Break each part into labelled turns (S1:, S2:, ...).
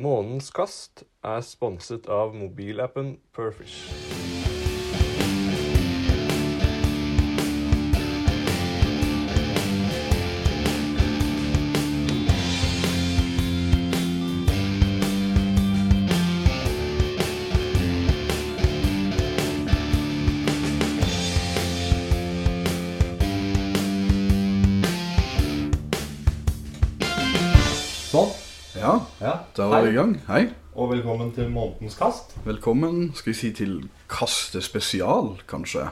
S1: Månens kast er sponset av mobilappen Perfish.
S2: Sånn.
S3: Ja,
S2: Ja.
S3: da var vi i
S2: Hei,
S3: gang. Hei.
S2: og velkommen til månedens kast.
S3: Velkommen, skal vi si, til kastespesial, kanskje.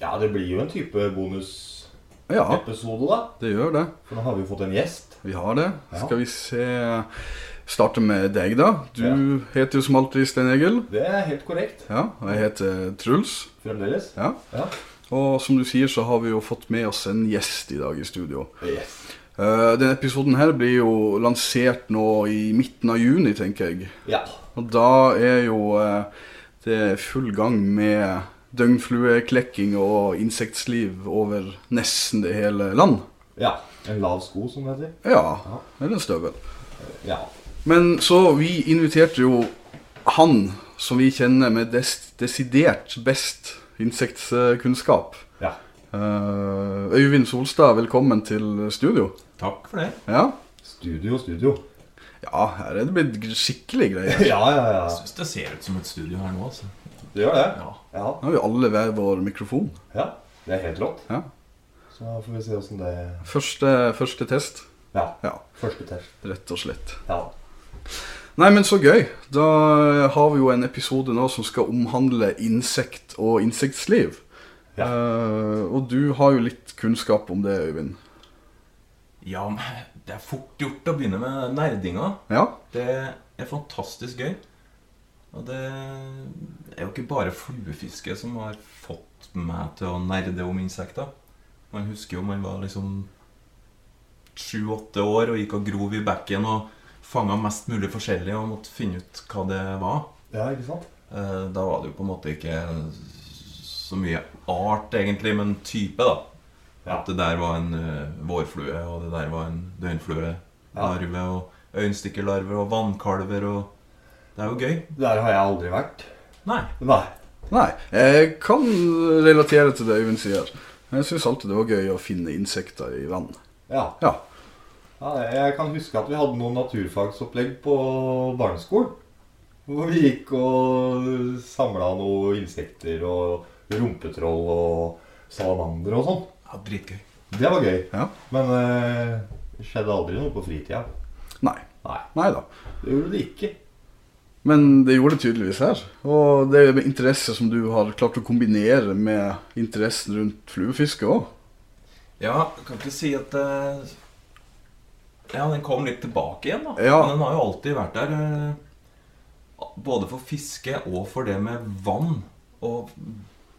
S2: Ja, det blir jo en type bonusepisode,
S3: Ja,
S2: da.
S3: det gjør det.
S2: For nå har vi jo fått en gjest.
S3: Vi har det.
S2: Ja.
S3: Skal vi se Starte med deg, da. Du
S2: Ja.
S3: heter jo som alltid Stein Egil.
S2: Det er helt korrekt.
S3: Ja, og jeg heter Truls.
S2: Fremdeles.
S3: Ja.
S2: Ja.
S3: Og som du sier, så har vi jo fått med oss en gjest i dag i studio.
S2: Yes.
S3: Eh, denne episoden her blir jo lansert nå i midten av juni, tenker jeg.
S2: Ja.
S3: Og da er jo eh, det full gang med døgnflueklekking og insektliv over nesten det hele land.
S2: ja. En lav sko, som det heter.
S3: Ja, eller en støvel.
S2: Ja.
S3: Men så vi inviterte jo han som vi kjenner med des desidert best insektkunnskap.
S2: ja.
S3: Eh, Øyvind Solstad, velkommen til studio.
S4: Takk for det.
S3: Ja,
S2: Studio, studio.
S3: ja her er det blitt skikkelig greier.
S2: ja, ja, ja.
S4: Jeg syns det ser ut som et studio her nå, altså.
S2: Det gjør det.
S4: Ja.
S2: Ja.
S3: Nå har vi alle hver vår mikrofon.
S2: ja. Det er helt rått.
S3: Ja.
S2: Så da får vi se åssen det
S3: Første, første test.
S2: Ja.
S3: Ja,
S2: Første test.
S3: rett og slett.
S2: Ja.
S3: Nei, men så gøy. Da har vi jo en episode nå som skal omhandle insekt og insektsliv.
S2: Ja.
S3: Eh, og du har jo litt kunnskap om det, Øyvind.
S4: Ja, men det er fort gjort å begynne med nerdinga.
S3: Ja?
S4: Det er fantastisk gøy. Og det er jo ikke bare fluefiske som har fått meg til å nerde om insekter. Man husker jo man var liksom sju-åtte år og gikk og grov i bekken og fanga mest mulig forskjellig og måtte finne ut hva det var.
S2: ja, ikke sant?
S4: Eh, Da var det jo på en måte ikke så mye art, egentlig, men type, da.
S2: Ja.
S4: At det der var en eh, vårflue, og det der var en døgnfluelarve, og øyenstikkerlarver og vannkalver og Det er jo gøy.
S2: Der har jeg aldri vært.
S4: Nei.
S2: Nei.
S3: Nei. Jeg kan relatere til det Øyvind sier. Jeg syns alltid det var gøy å finne insekter i vann.
S2: Ja.
S3: Ja.
S2: Ja, jeg kan huske at vi hadde noen naturfagsopplegg på barneskolen. Hvor vi gikk og samla noen insekter og rumpetroll og salamandere og sånn.
S4: Ja, Dritgøy.
S2: Det var gøy.
S3: Ja.
S2: Men eh, det skjedde aldri noe på fritida.
S3: Nei.
S2: Nei,
S3: Nei da.
S2: det gjorde det ikke.
S3: Men det gjorde det tydeligvis her. Og det er med interesse som du har klart å kombinere med interessen rundt fluefiske òg.
S4: Ja, kan ikke si at eh, Ja, den kom litt tilbake igjen, da.
S3: Ja.
S4: Men Den har jo alltid vært der. eh, både for fiske og for det med vann. Og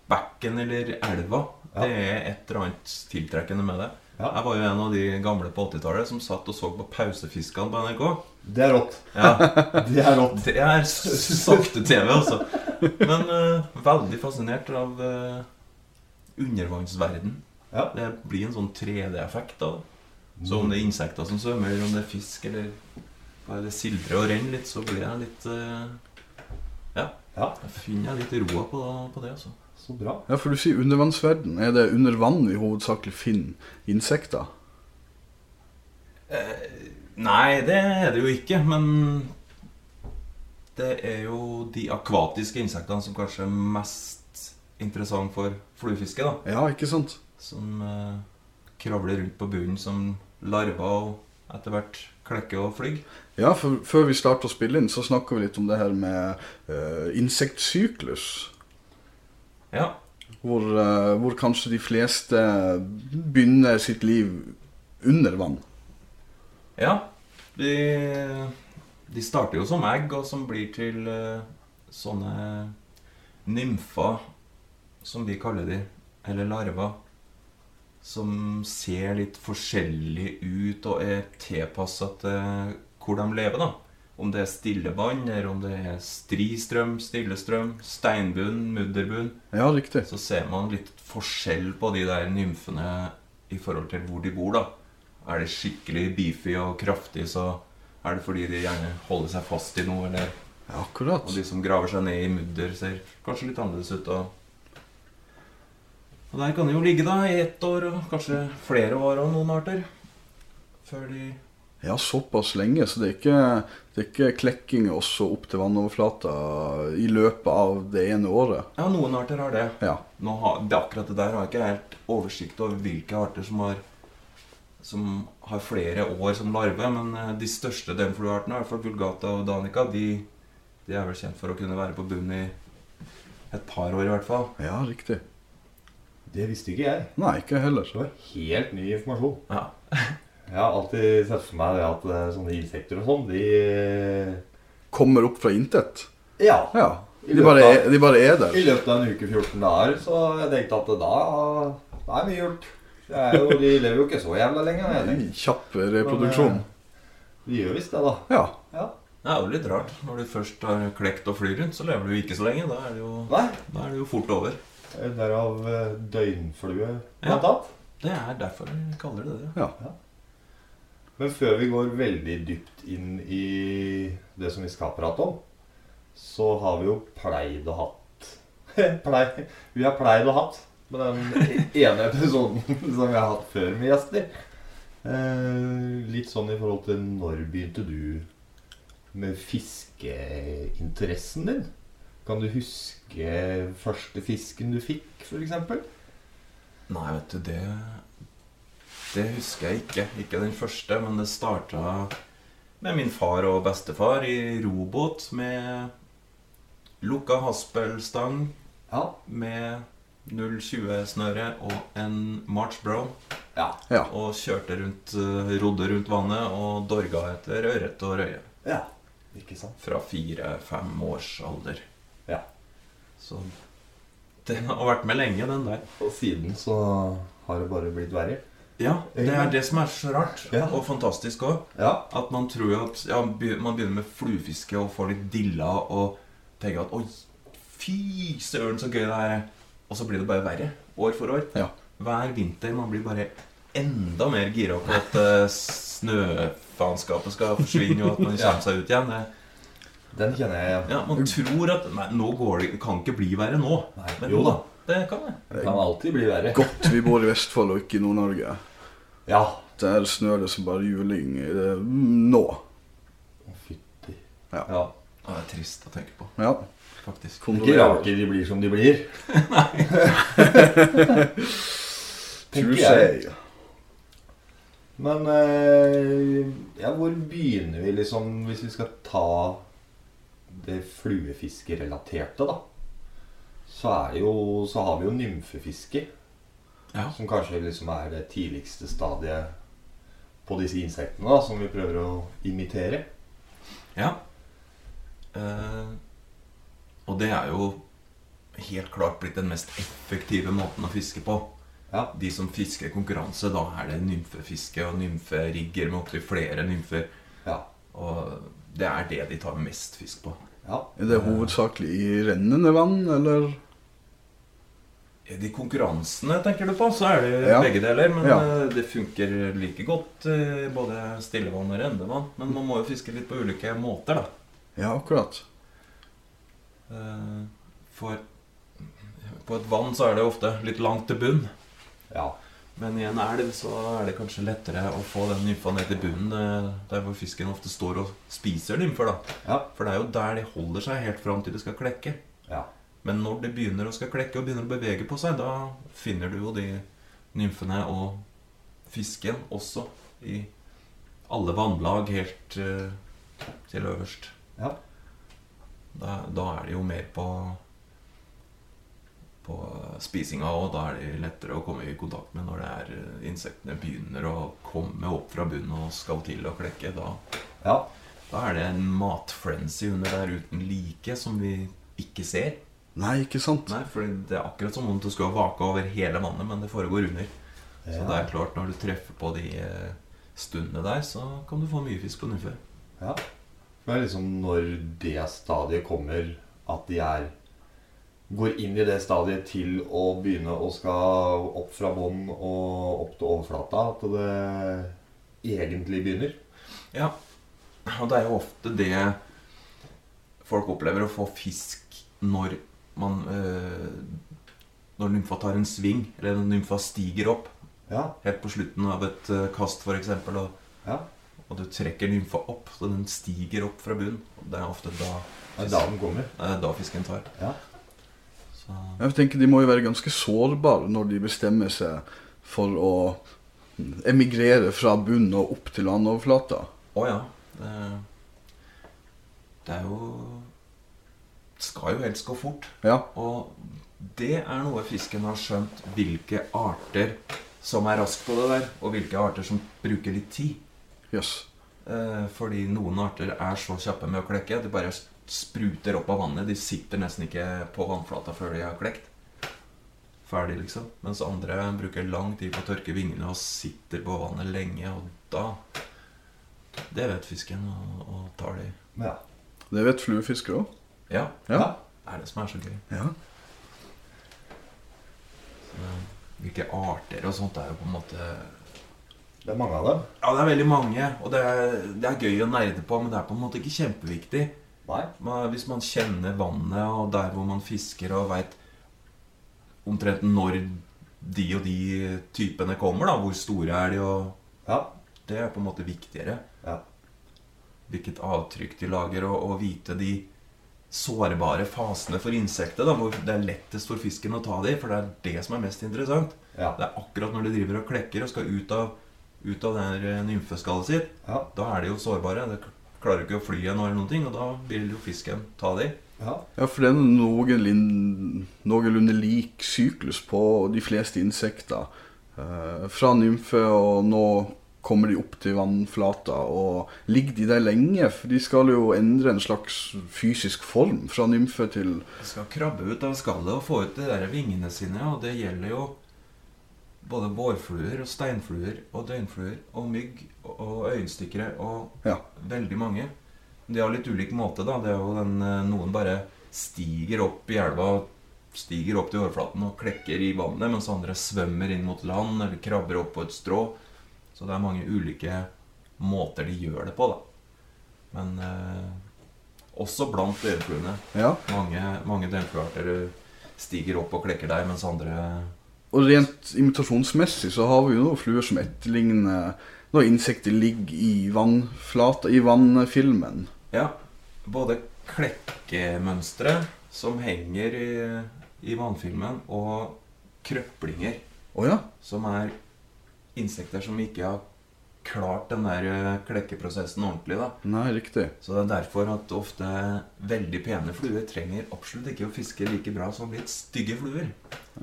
S4: bekken eller elva.
S2: Ja.
S4: Det er et eller annet tiltrekkende med det.
S2: Ja.
S4: Jeg var jo en av de gamle på 80-tallet som satt og så på pausefiskene på NRK.
S2: Det er rått.
S4: Ja,
S2: Det er rått.
S4: Det er s- sakte-TV, altså. Men eh, veldig fascinert av eh, undervannsverden.
S2: Ja.
S4: Det blir en sånn 3D-effekt av det. Så om det er insekter som svømmer, eller om det er fisk, eller bare det sildrer og renner litt, så blir jeg litt eh, Ja.
S2: Ja.
S4: Da finner jeg litt roa på, på det, altså.
S2: Så bra.
S3: Ja, for du sier undervannsverden. Er det under vann vi hovedsakelig finner insekter?
S4: Eh, Nei, det er det jo ikke, men det er jo de akvatiske insektene som kanskje er mest interessant for fluefiske, da.
S3: Ja, ikke sant?
S4: Som eh, kravler rundt på bunnen som larver og etter hvert klekker og flyr.
S3: Ja, for Før vi starter å spille inn, så snakker vi litt om det her med eh, insektsyklus.
S4: Ja.
S3: Hvor, eh, hvor kanskje de fleste begynner sitt liv under vann.
S4: ja. De, de starter jo som egg, og som blir til eh, sånne nymfer, som vi kaller de, eller larver. Som ser litt forskjellig ut og er tilpassa til hvor de lever, da. Om det er stille vann, eller om det er stristrøm, stillestrøm, steinbunn, mudderbunn.
S3: Ja, riktig.
S4: så ser man litt forskjell på de der nymfene i forhold til hvor de bor, da. Er det skikkelig beefy og kraftig, så Er det fordi de gjerne holder seg fast i noe, eller
S3: Akkurat.
S4: Og de som graver seg ned i mudder, ser kanskje litt annerledes ut. Og, og der kan de jo ligge da i ett år, og kanskje flere år og noen arter. Før de
S3: Ja, såpass lenge, så det er ikke, det er ikke klekking også opp til vannoverflata i løpet av det ene året.
S4: Ja, noen arter har det.
S3: Ja.
S4: Nå har, det akkurat det der har jeg ikke helt oversikt over hvilke arter som har, som har flere år som larve, men eh, de største delflueartene, i hvert fall vulgata og danica, de, de er vel kjent for å kunne være på bunnen i et par år i hvert fall.
S3: ja, riktig.
S2: Det visste ikke jeg.
S3: Nei, ikke jeg heller.
S2: Det var helt ny informasjon.
S4: Ja.
S2: Jeg har alltid sett for meg det at eh, sånne insekter og sånn, de eh,
S3: Kommer opp fra intet.
S2: Ja.
S3: Ja. De bare, er, de bare er der.
S2: I løpet av en uke 14 dager, så jeg tenkte at da Da er mye gjort. Det er jo, de lever jo ikke så jævla lenge. da, jeg tenkte.
S3: Kjapp reproduksjon.
S2: De gjør visst det, da.
S3: Ja.
S2: Ja.
S4: Det er jo litt rart. Når du først har klekt og flyr rundt, så lever du jo ikke så lenge. Da er det jo,
S2: Nei.
S4: da er det jo fort over.
S2: Derav eh, døgnflue,
S4: Ja.
S2: blant annet.
S4: Det er derfor vi kaller det det.
S2: Men før vi går veldig dypt inn i det som vi skal prate om, så har vi jo pleid å hatt Plei, Vi har pleid å hatt med den ene episoden som vi har hatt før med gjester. Eh, litt sånn i forhold til når begynte du med fiskeinteressen din? Kan du huske første fisken du fikk, f.eks.?
S4: Nei, vet du, det Det husker jeg ikke. Ikke den første, men det starta med min far og bestefar i robåt med lukka haspelstang
S2: Ja.
S4: med 020-snøre og en March Brown.
S2: ja.
S3: ja.
S4: Og kjørte rundt, eh, rodde rundt vannet og dorga etter ørret og røye.
S2: Ja. Ikke sant?
S4: fra fire-fem års alder.
S2: Ja.
S4: Så den har vært med lenge, den der.
S2: Og siden så har det bare blitt verre.
S4: Ja, det er
S2: Egentlig.
S4: det som er så rart,
S2: Ja.
S4: og fantastisk òg.
S2: Ja.
S4: At man tror jo at ja, be- Man begynner med fluefiske og får litt dilla og tenker at oi, fy søren, så gøy det her er. Og så blir det bare verre år for år.
S3: Ja.
S4: Hver vinter. Man blir bare enda mer gira på at eh, snøfaenskapet skal forsvinne, og at man
S2: Ja.
S4: kommer seg ut igjen. Det,
S2: Den kjenner jeg igjen.
S4: Ja, Man tror at Nei, nå går det, det kan ikke bli verre nå.
S2: Nei,
S4: Men
S2: jo da.
S4: Det kan det.
S2: Det kan alltid bli verre.
S3: Godt vi bor i Vestfold og ikke i Nord-Norge.
S2: Ja.
S3: Der snør det som bare juling eh, nå.
S2: Å, Fytti.
S3: Ja.
S4: Ja, Det er trist å tenke på,
S3: Ja.
S4: faktisk.
S2: Ikke rart de blir som de blir.
S3: True
S2: Tenker jeg.
S3: say.
S2: Men eh, ja, hvor begynner vi, liksom, hvis vi skal ta det fluefiskerelaterte, da? Så, er det jo, så har vi jo nymfefiske,
S4: Ja.
S2: som kanskje liksom er det tidligste stadiet på disse insektene da, som vi prøver å imitere.
S4: ja. Eh, og det er jo helt klart blitt den mest effektive måten å fiske på.
S2: Ja.
S4: De som fisker konkurranse, da er det nymfefiske og nymferigger med opptil flere nymfer.
S2: Ja.
S4: Og det er det de tar mest fisk på.
S2: ja.
S3: Er det hovedsakelig i rennende vann, eller?
S4: Ja, De konkurransene tenker du på, så er det
S3: Ja.
S4: begge deler. Men
S3: Ja.
S4: eh, det funker like godt eh, både stillevann og rennevann. Men man må jo fiske litt på ulike måter, da.
S3: Ja, akkurat.
S4: Eh, For på et vann så er det ofte litt langt til bunn.
S2: ja.
S4: Men i en elv så er det kanskje lettere å få den nymfa ned til bunnen, eh, der hvor fisken ofte står og spiser nymfer, da.
S2: Ja.
S4: For det er jo der de holder seg helt fram til de skal klekke.
S2: Ja.
S4: Men når det begynner å skal klekke og begynner å bevege på seg, da finner du jo de nymfene og fisken også i alle vannlag helt eh, til øverst.
S2: Ja.
S4: Da, da er det jo mer på på spisinga òg. Da er det lettere å komme i kontakt med når det er eh, insektene begynner å komme opp fra bunnen og skal til å klekke. Da
S2: ja.
S4: da er det en matfrenzy under der uten like som vi ikke ser.
S3: Nei, ikke sant?
S4: Nei, for det er akkurat som om du skulle vake over hele vannet, men det foregår under. Så det er klart, når du treffer på de eh, stundene der, så kan du få mye fisk på nymfe.
S2: Ja. For det er liksom når det stadiet kommer, at de er Går inn i det stadiet til å begynne å skal opp fra bånn og opp til overflata, at det egentlig begynner.
S4: Ja. Og det er jo ofte det folk opplever, å få fisk når man eh, Når lymfa tar en sving, eller når lymfa stiger opp
S2: Ja.
S4: helt på slutten av et eh, kast, f.eks. Og,
S2: Ja.
S4: og du trekker lymfa opp, så den stiger opp fra bunnen. Og Det er ofte da,
S2: Det er da den kommer.
S4: det er da fisken tar.
S2: Ja.
S4: Så,
S3: Jeg tenker De må jo være ganske sårbare når de bestemmer seg for å mm, emigrere fra bunnen og opp til landoverflata.
S4: å ja. Det, det er jo Det skal jo helst gå fort.
S3: Ja,
S4: Og det er noe fisken har skjønt, hvilke arter som er rask på det der, og hvilke arter som bruker litt tid.
S3: jøss.
S4: Eh, fordi noen arter er så kjappe med å klekke at de bare spruter opp av vannet. De sitter nesten ikke på vannflata før de har klekt. Ferdig, liksom. Mens andre bruker lang tid på å tørke vingene og sitter på vannet lenge, og da Det vet fisken, og, og tar de.
S2: Ja.
S3: Det vet fluefiskere òg.
S4: Ja,
S3: Ja.
S4: det er det som er så gøy.
S3: ja.
S4: Men Hvilke arter og sånt er jo på en måte
S2: Det er mange av dem.
S4: Ja, det er veldig mange, og det er, det er gøy å nerde på, men det er på en måte ikke kjempeviktig.
S2: Nei.
S4: Man, hvis man kjenner vannet og der hvor man fisker og veit omtrent når de og de typene kommer, da, hvor store er de, og
S2: Ja.
S4: det er på en måte viktigere.
S2: Ja.
S4: Hvilket avtrykk de lager, og, og vite de sårbare fasene for insekter, da, hvor det er lettest for fisken å ta de, for det er det som er mest interessant.
S2: Ja.
S4: Det er akkurat når de driver og klekker og skal ut av, ut av det her, eh, nymfeskallet sitt.
S2: Ja.
S4: Da er de jo sårbare. De klarer ikke å fly igjen eller noen ting, og da vil jo fisken ta de.
S2: Ja.
S3: Ja, for det er noenlunde, noenlunde lik syklus på de fleste insekter. Eh, fra nymfe, og nå kommer de opp til vannflata. Og ligger de der lenge? For de skal jo endre en slags fysisk form fra nymfe til
S4: De skal krabbe ut av skallet og få ut de der vingene sine, og det gjelder jo både vårfluer og steinfluer og døgnfluer og mygg og øyenstikkere og
S3: Ja.
S4: veldig mange. De har litt ulik måte, da. Det er jo den eh, Noen bare stiger opp i elva, stiger opp til overflaten og klekker i vannet, mens andre svømmer inn mot land eller krabber opp på et strå. Så det er mange ulike måter de gjør det på, da. Men eh, også blant dørfluene.
S3: Ja.
S4: Mange, mange delfluarter stiger opp og klekker deg, mens andre
S3: Og rent imitasjonsmessig så har vi jo noen fluer som etterligner når insekter ligger i vannflata, i vannfilmen.
S4: Ja, både klekkemønstre som henger i, i vannfilmen, og krøplinger,
S3: Å ja?
S4: som er insekter som ikke har klart den der eh, klekkeprosessen ordentlig. da.
S3: Nei, riktig.
S4: Så det er derfor at ofte veldig pene fluer trenger absolutt ikke å fiske like bra som litt stygge fluer.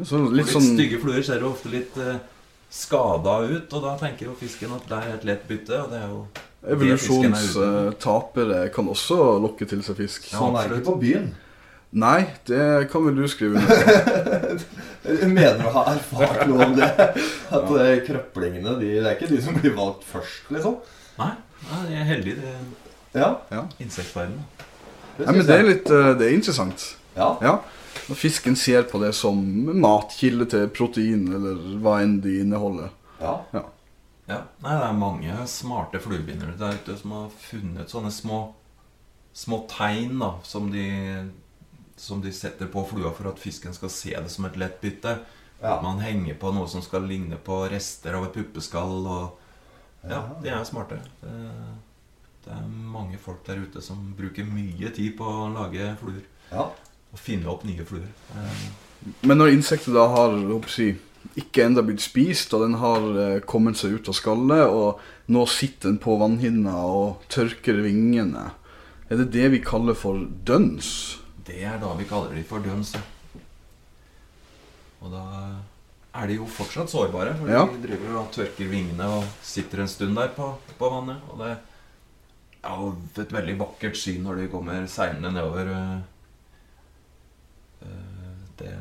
S3: Så
S4: Litt,
S3: litt sånn
S4: stygge fluer ser jo ofte litt eh, skada ut, og da tenker jo fisken at det er et lett bytte, og det er jo
S3: Evolusjonstapere kan også lokke til seg fisk.
S4: Ja,
S2: Sånn er det
S4: absolutt.
S2: ikke på byen.
S3: Nei, det kan vel du skrive under på.
S2: Jeg mener å ha erfart noe om det. At eh, krøplingene, de, det er ikke de som blir valgt først, liksom.
S4: Nei, nei, jeg er heldig i det
S2: Ja,
S4: insektverdenen.
S2: det
S3: Nei, men
S2: synes
S3: det er
S2: jeg.
S3: litt eh, det er interessant.
S2: Ja,
S3: Ja. Når fisken ser på det som matkilde til protein, eller hva enn de inneholder.
S2: ja.
S4: Ja. Nei, det er mange smarte fluebindere der ute som har funnet sånne små, små tegn da, som de, som de setter på flua for at fisken skal se det som et lett bytte.
S2: Ja.
S4: Man henger på noe som skal ligne på rester av et puppeskall. Og ja, de er smarte. Det, det er mange folk der ute som bruker mye tid på å lage fluer.
S2: ja.
S4: Og finne opp nye fluer. Eh,
S3: Men når insekter da har håper jeg, ikke enda blitt spist, og den har eh, kommet seg ut av skallet, og nå sitter den på vannhinna og tørker vingene, er det det vi kaller for døns?
S4: Det er da vi kaller de for døns. ja. Og da er de jo fortsatt sårbare, for
S3: Ja.
S4: de driver og tørker vingene og sitter en stund der på, på vannet. Og det er jo et veldig vakkert syn når de kommer seilende nedover. eh, eh, Det,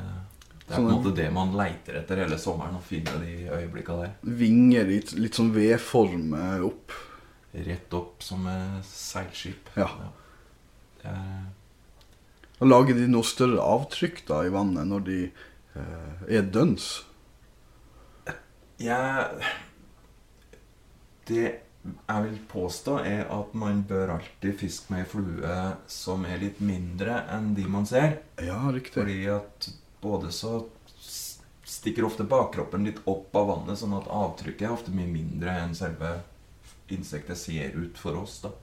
S4: det er på en
S3: Sånn.
S4: måte det man leiter etter hele sommeren, å finne de øyeblikka der.
S3: Vinger i et litt sånn V-form eh, opp.
S4: Rett opp som eh, seilskip.
S3: Ja.
S4: Det er
S3: Og lager de noe større avtrykk da i vannet når de eh, er døns?
S4: Jeg det, jeg vil påstå, er at man bør alltid fiske med ei flue som er litt mindre enn de man ser.
S3: Ja, riktig.
S4: Fordi at både så s- stikker ofte bakkroppen litt opp av vannet, sånn at avtrykket er ofte mye mindre enn selve insektet ser ut for oss. da.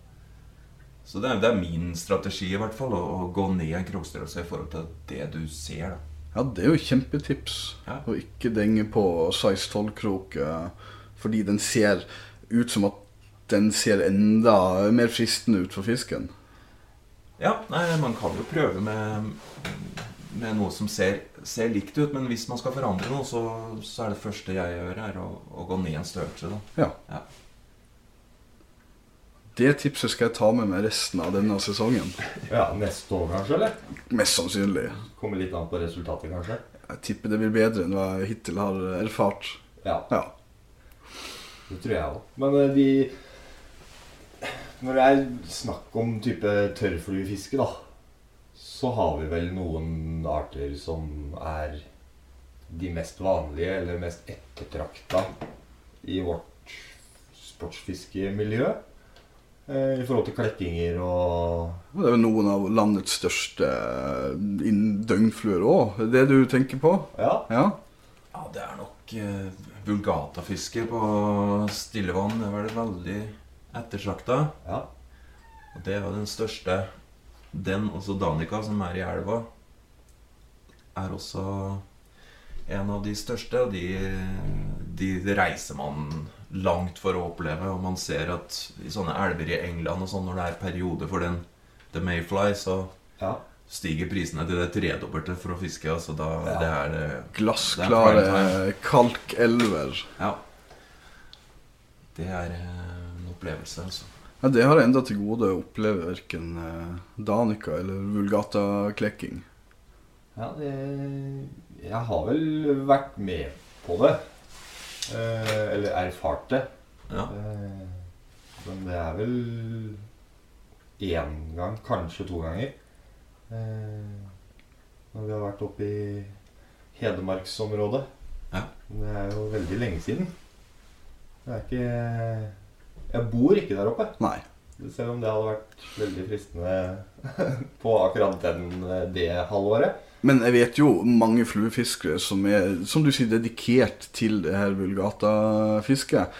S4: Så det er, det er min strategi i hvert fall, å, å gå ned en krokstørrelse i forhold til det du ser. da.
S3: Ja, det er jo kjempetips
S4: Ja.
S3: å ikke denge på size 12-krok eh, fordi den ser ut som at den ser enda mer fristende ut for fisken.
S4: Ja, nei, man kan jo prøve med, med noe som ser, ser likt ut, men hvis man skal forandre noe, så, så er det første jeg gjør, er å, å gå ned en størrelse. da.
S3: Det tipset skal jeg ta med meg resten av denne sesongen.
S2: Ja, Neste år kanskje, eller?
S3: Mest sannsynlig.
S2: Kommer litt an på resultatet, kanskje.
S3: Jeg tipper det blir bedre enn hva jeg hittil har erfart.
S2: Ja,
S3: Ja.
S2: det tror jeg òg. Men eh, de Når det er snakk om type tørrfluefiske, da, så har vi vel noen arter som er de mest vanlige eller mest ettertrakta i vårt sportsfiskemiljø. eh, I forhold til klettinger og
S3: Og Det er vel noen av landets største innen døgnfluer òg, det du tenker på?
S2: Ja.
S3: Ja.
S4: Ja, det er nok eh, vulgatafiske på stillevann. Det er vel veldig ettertrakta.
S2: ja.
S4: Og det er jo den største. Den, også Danica, som er i elva, er også en av de største. Og de, de reiser man langt for å oppleve. Og man ser at i sånne elver i England og sånn, når det er periode for den The Mayfly, så
S2: ja.
S4: stiger prisene til det tredobbelte for å fiske. Altså da,
S2: Ja.
S4: det er det Det er prime
S3: Glassklare kalkelver.
S4: Ja. Det er eh, en opplevelse, altså.
S3: Ja, det har jeg enda til gode å oppleve verken eh, Danica eller Vulgata-klekking.
S2: Ja, det Jeg har vel vært med på det. Eh, eller erfart det.
S4: Ja.
S2: Eh, men det er vel én gang, kanskje to ganger. Eh, når vi har vært oppe i Hedmarksområdet.
S4: Ja.
S2: Men Det er jo veldig lenge siden. Det er ikke Jeg bor ikke der oppe.
S3: Nei.
S2: Selv om det hadde vært veldig fristende på akkurat den, eh, det halvåret.
S3: Men jeg vet jo mange fluefiskere som er, som du sier, dedikert til det her vulgata-fisket.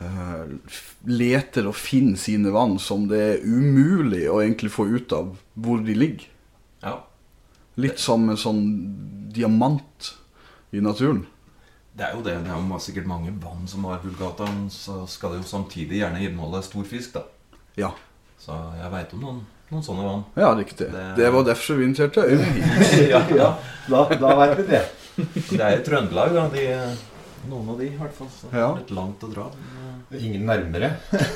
S3: eh, f- leter og finner sine vann som det er umulig å egentlig få ut av hvor de ligger.
S4: ja.
S3: Litt som en sånn diamant i naturen.
S4: Det er jo det. Det er jo ma- sikkert mange vann som har vulgata, men så skal det jo samtidig gjerne inneholde stor fisk, da.
S3: Ja,
S4: Så jeg veit om noen, noen sånne vann.
S3: ja riktig.
S4: Det-
S3: Det var derfor vi inviterte Øyvind.
S2: ja, Da, da veit vi det.
S4: Det er i Trøndelag, da. De, eh, noen av de, i hvert fall. Så det
S3: Ja.
S4: er litt langt å dra. Men,
S2: Ingen nærmere.
S4: eh,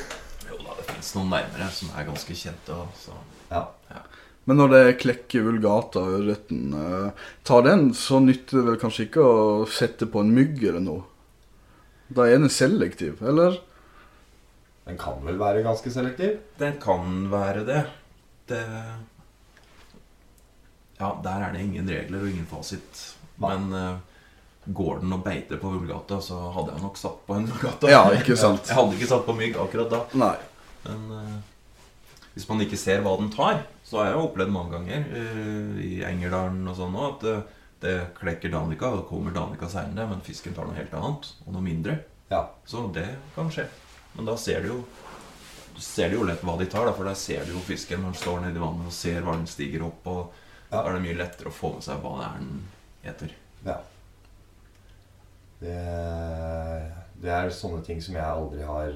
S4: jo da, det fins noen nærmere som er ganske kjente. og Så.
S2: Ja.
S3: Men når det klekker vulgata og ørreten, eh, tar den, så nytter det vel kanskje ikke å sette på en mygg eller noe? Da er den selektiv, eller?
S2: Den kan vel være ganske selektiv?
S4: Det kan være det. Det Ja, der er det ingen regler og ingen fasit.
S2: Nei.
S4: Men eh, går den og beiter på vulgata, så hadde jeg nok satt på en vulgata.
S3: Ja, ikke sant?
S4: Jeg hadde ikke satt på mygg akkurat da.
S3: Nei.
S4: Men eh, hvis man ikke ser hva den tar, så har jeg opplevd mange ganger eh, i Engerdalen og sånn òg at eh, det klekker Danica, og kommer Danica seinere, men fisken tar noe helt annet, og noe mindre.
S2: Ja.
S4: Så det kan skje. Men da ser du jo du ser du jo lett hva de tar, da, for der ser du jo fisken når den står nedi vannet og ser hva den stiger opp, og
S2: Ja.
S4: da er det mye lettere å få med seg hva det er den eter.
S2: ja. Det, det er sånne ting som jeg aldri har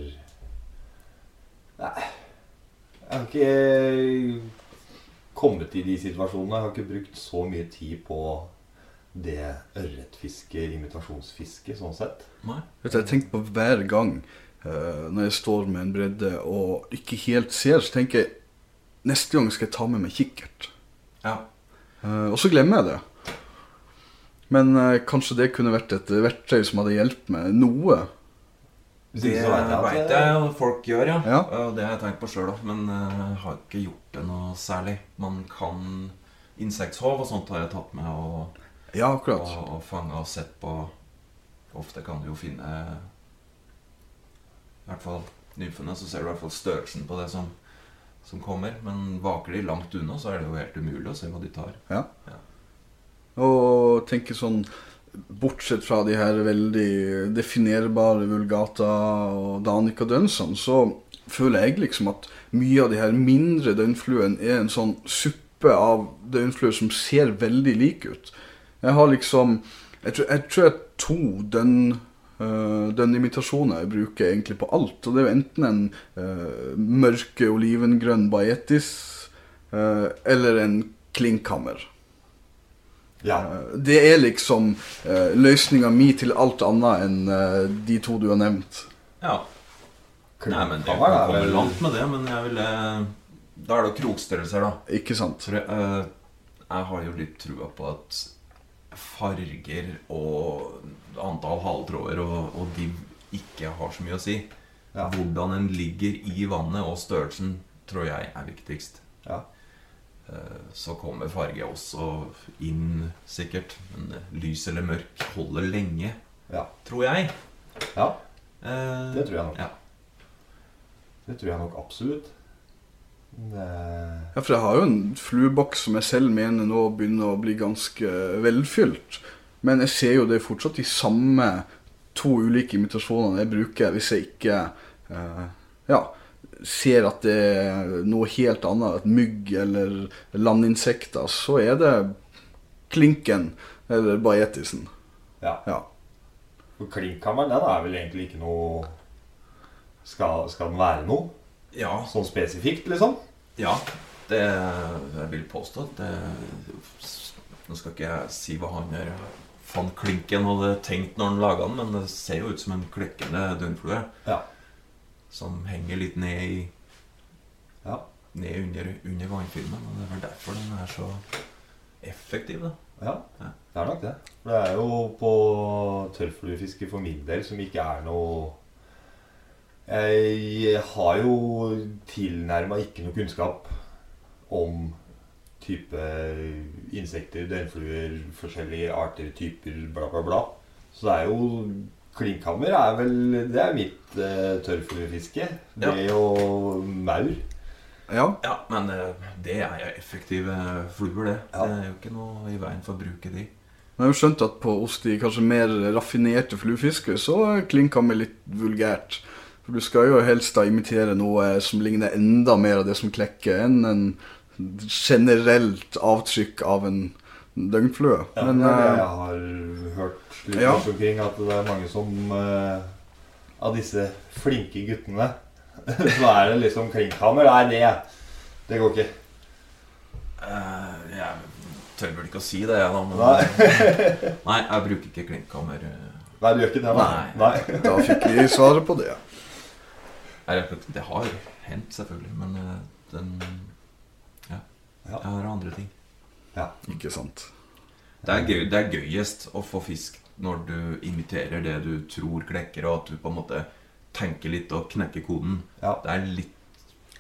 S2: Nei. Jeg har ikke kommet i de situasjonene. Jeg har ikke brukt så mye tid på det ørretfiske, imitasjonsfiske, sånn sett.
S4: Nei.
S3: Vet du, jeg tenker på hver gang eh, når jeg står med en bredde og ikke helt ser, så tenker jeg neste gang skal jeg ta med meg kikkert.
S4: Ja.
S3: Eh, og så glemmer jeg det. Men eh, kanskje det kunne vært et verktøy som hadde hjulpet meg noe.
S2: Hvis
S4: Det
S2: ikke så vet jeg at-
S4: veit jeg jo folk gjør, ja.
S3: Ja.
S4: Og det har jeg tenkt på sjøl òg, men jeg har ikke gjort det noe særlig. Man kan insekthov og sånt har jeg tatt med og,
S3: Ja, akkurat.
S4: og, og fanga og sett på. Ofte kan du jo finne I hvert fall nymfene, så ser du i hvert fall størrelsen på det som, som kommer. Men vaker de langt unna, så er det jo helt umulig å se hva de tar.
S3: Og tenker sånn Bortsett fra de her veldig definerbare vulgata og danica-dønsene, så føler jeg liksom at mye av de her mindre døgnfluene er en sånn suppe av døgnfluer som ser veldig like ut. Jeg har liksom Jeg tror jeg, tror jeg to dønn øh, dønnimitasjoner jeg bruker egentlig på alt. Og det er jo enten en øh, mørke olivengrønn baetis øh, eller en klinkhammer.
S2: Ja.
S3: Eh, Det er liksom uh, løsninga mi til alt annet enn eh, de to du har nevnt.
S4: Ja, Nei, men Jeg
S2: Kammer
S4: kan
S2: er
S4: komme
S2: vel-
S4: langt med det, men jeg ville Da er det jo krokstørrelser, da.
S3: Ikke sant?
S4: Så det, eh, jeg har jo litt trua på at farger og antall halvtråder og, og de ikke har så mye å si.
S2: Ja.
S4: Hvordan en ligger i vannet og størrelsen, tror jeg er viktigst.
S2: Ja.
S4: Eh, Så kommer farge også inn, sikkert. Men eh, lys eller mørk holder lenge,
S2: Ja.
S4: tror jeg.
S2: ja,
S4: Eh,
S2: det tror jeg nok.
S4: Ja.
S2: Det tror jeg nok absolutt. Det...
S3: Ja, for jeg har jo en flueboks som jeg selv mener nå begynner å bli ganske eh, velfylt. Men jeg ser jo det er fortsatt de samme to ulike imitasjonene jeg bruker hvis jeg ikke eh, ja, ser at det er noe helt annet, et mygg eller landinsekter, så er det klinken eller bajetisen.
S2: Ja.
S3: Ja.
S2: For klinkhammeren, den er vel egentlig ikke noe skal, skal den være noe?
S4: ja,
S2: Sånn spesifikt, liksom?
S4: Ja, det jeg vil påstå at det, Nå skal ikke jeg si hva han her van Klinken hadde tenkt når han laga den, men det ser jo ut som en klekkende dunflue
S2: Ja.
S4: som henger litt ned, i,
S2: Ja.
S4: ned under, under vannfilmen. Og det er vel derfor den er så effektiv, da.
S2: ja.
S4: Ja.
S2: Det er nok det. For det er jo på tørrfluefiske for min del som ikke er noe Jeg har jo tilnærma ikke noe kunnskap om type insekter, døgnfluer, forskjellige arter, typer, bla, bla, bla. Så det er jo Klinkhammer er vel Det er mitt eh, tørrfluefiske.
S4: Ja.
S2: Det og maur.
S3: ja.
S4: Ja, men eh, det er jo effektive fluer, det.
S2: Ja.
S4: Det er jo ikke noe i veien for å bruke de.
S3: Men jeg har jo skjønt at på hos de kanskje mer raffinerte fluefiskere, så klinker med litt vulgært. For du skal jo helst da imitere noe som ligner enda mer av det som klekker, enn en generelt avtrykk av en døgnflue.
S2: Ja,
S3: Men
S2: det er det
S3: eh,
S2: jeg har hørt litt
S3: Ja.
S2: rundt omkring at det er mange som eh, Av disse flinke guttene Så er det liksom klinkhammer. Nei, det, det går ikke.
S4: Eh, jeg tør vel ikke å si det, jeg, da.
S3: Mm.
S4: Men, nei, jeg bruker ikke klinkkammer. eh,
S2: Nei, du gjør ikke det?
S4: Nei.
S2: Nei.
S3: da fikk vi svaret på det.
S4: Nei, det- Det har hendt, selvfølgelig, men eh, den Ja.
S2: Ja.
S4: Jeg har andre ting.
S3: Ikke sant.
S4: Det er, gøy, det er gøyest å få fisk når du imiterer det du tror klekker, og at du på en måte tenker litt og knekker koden.
S2: Ja,
S4: Det er litt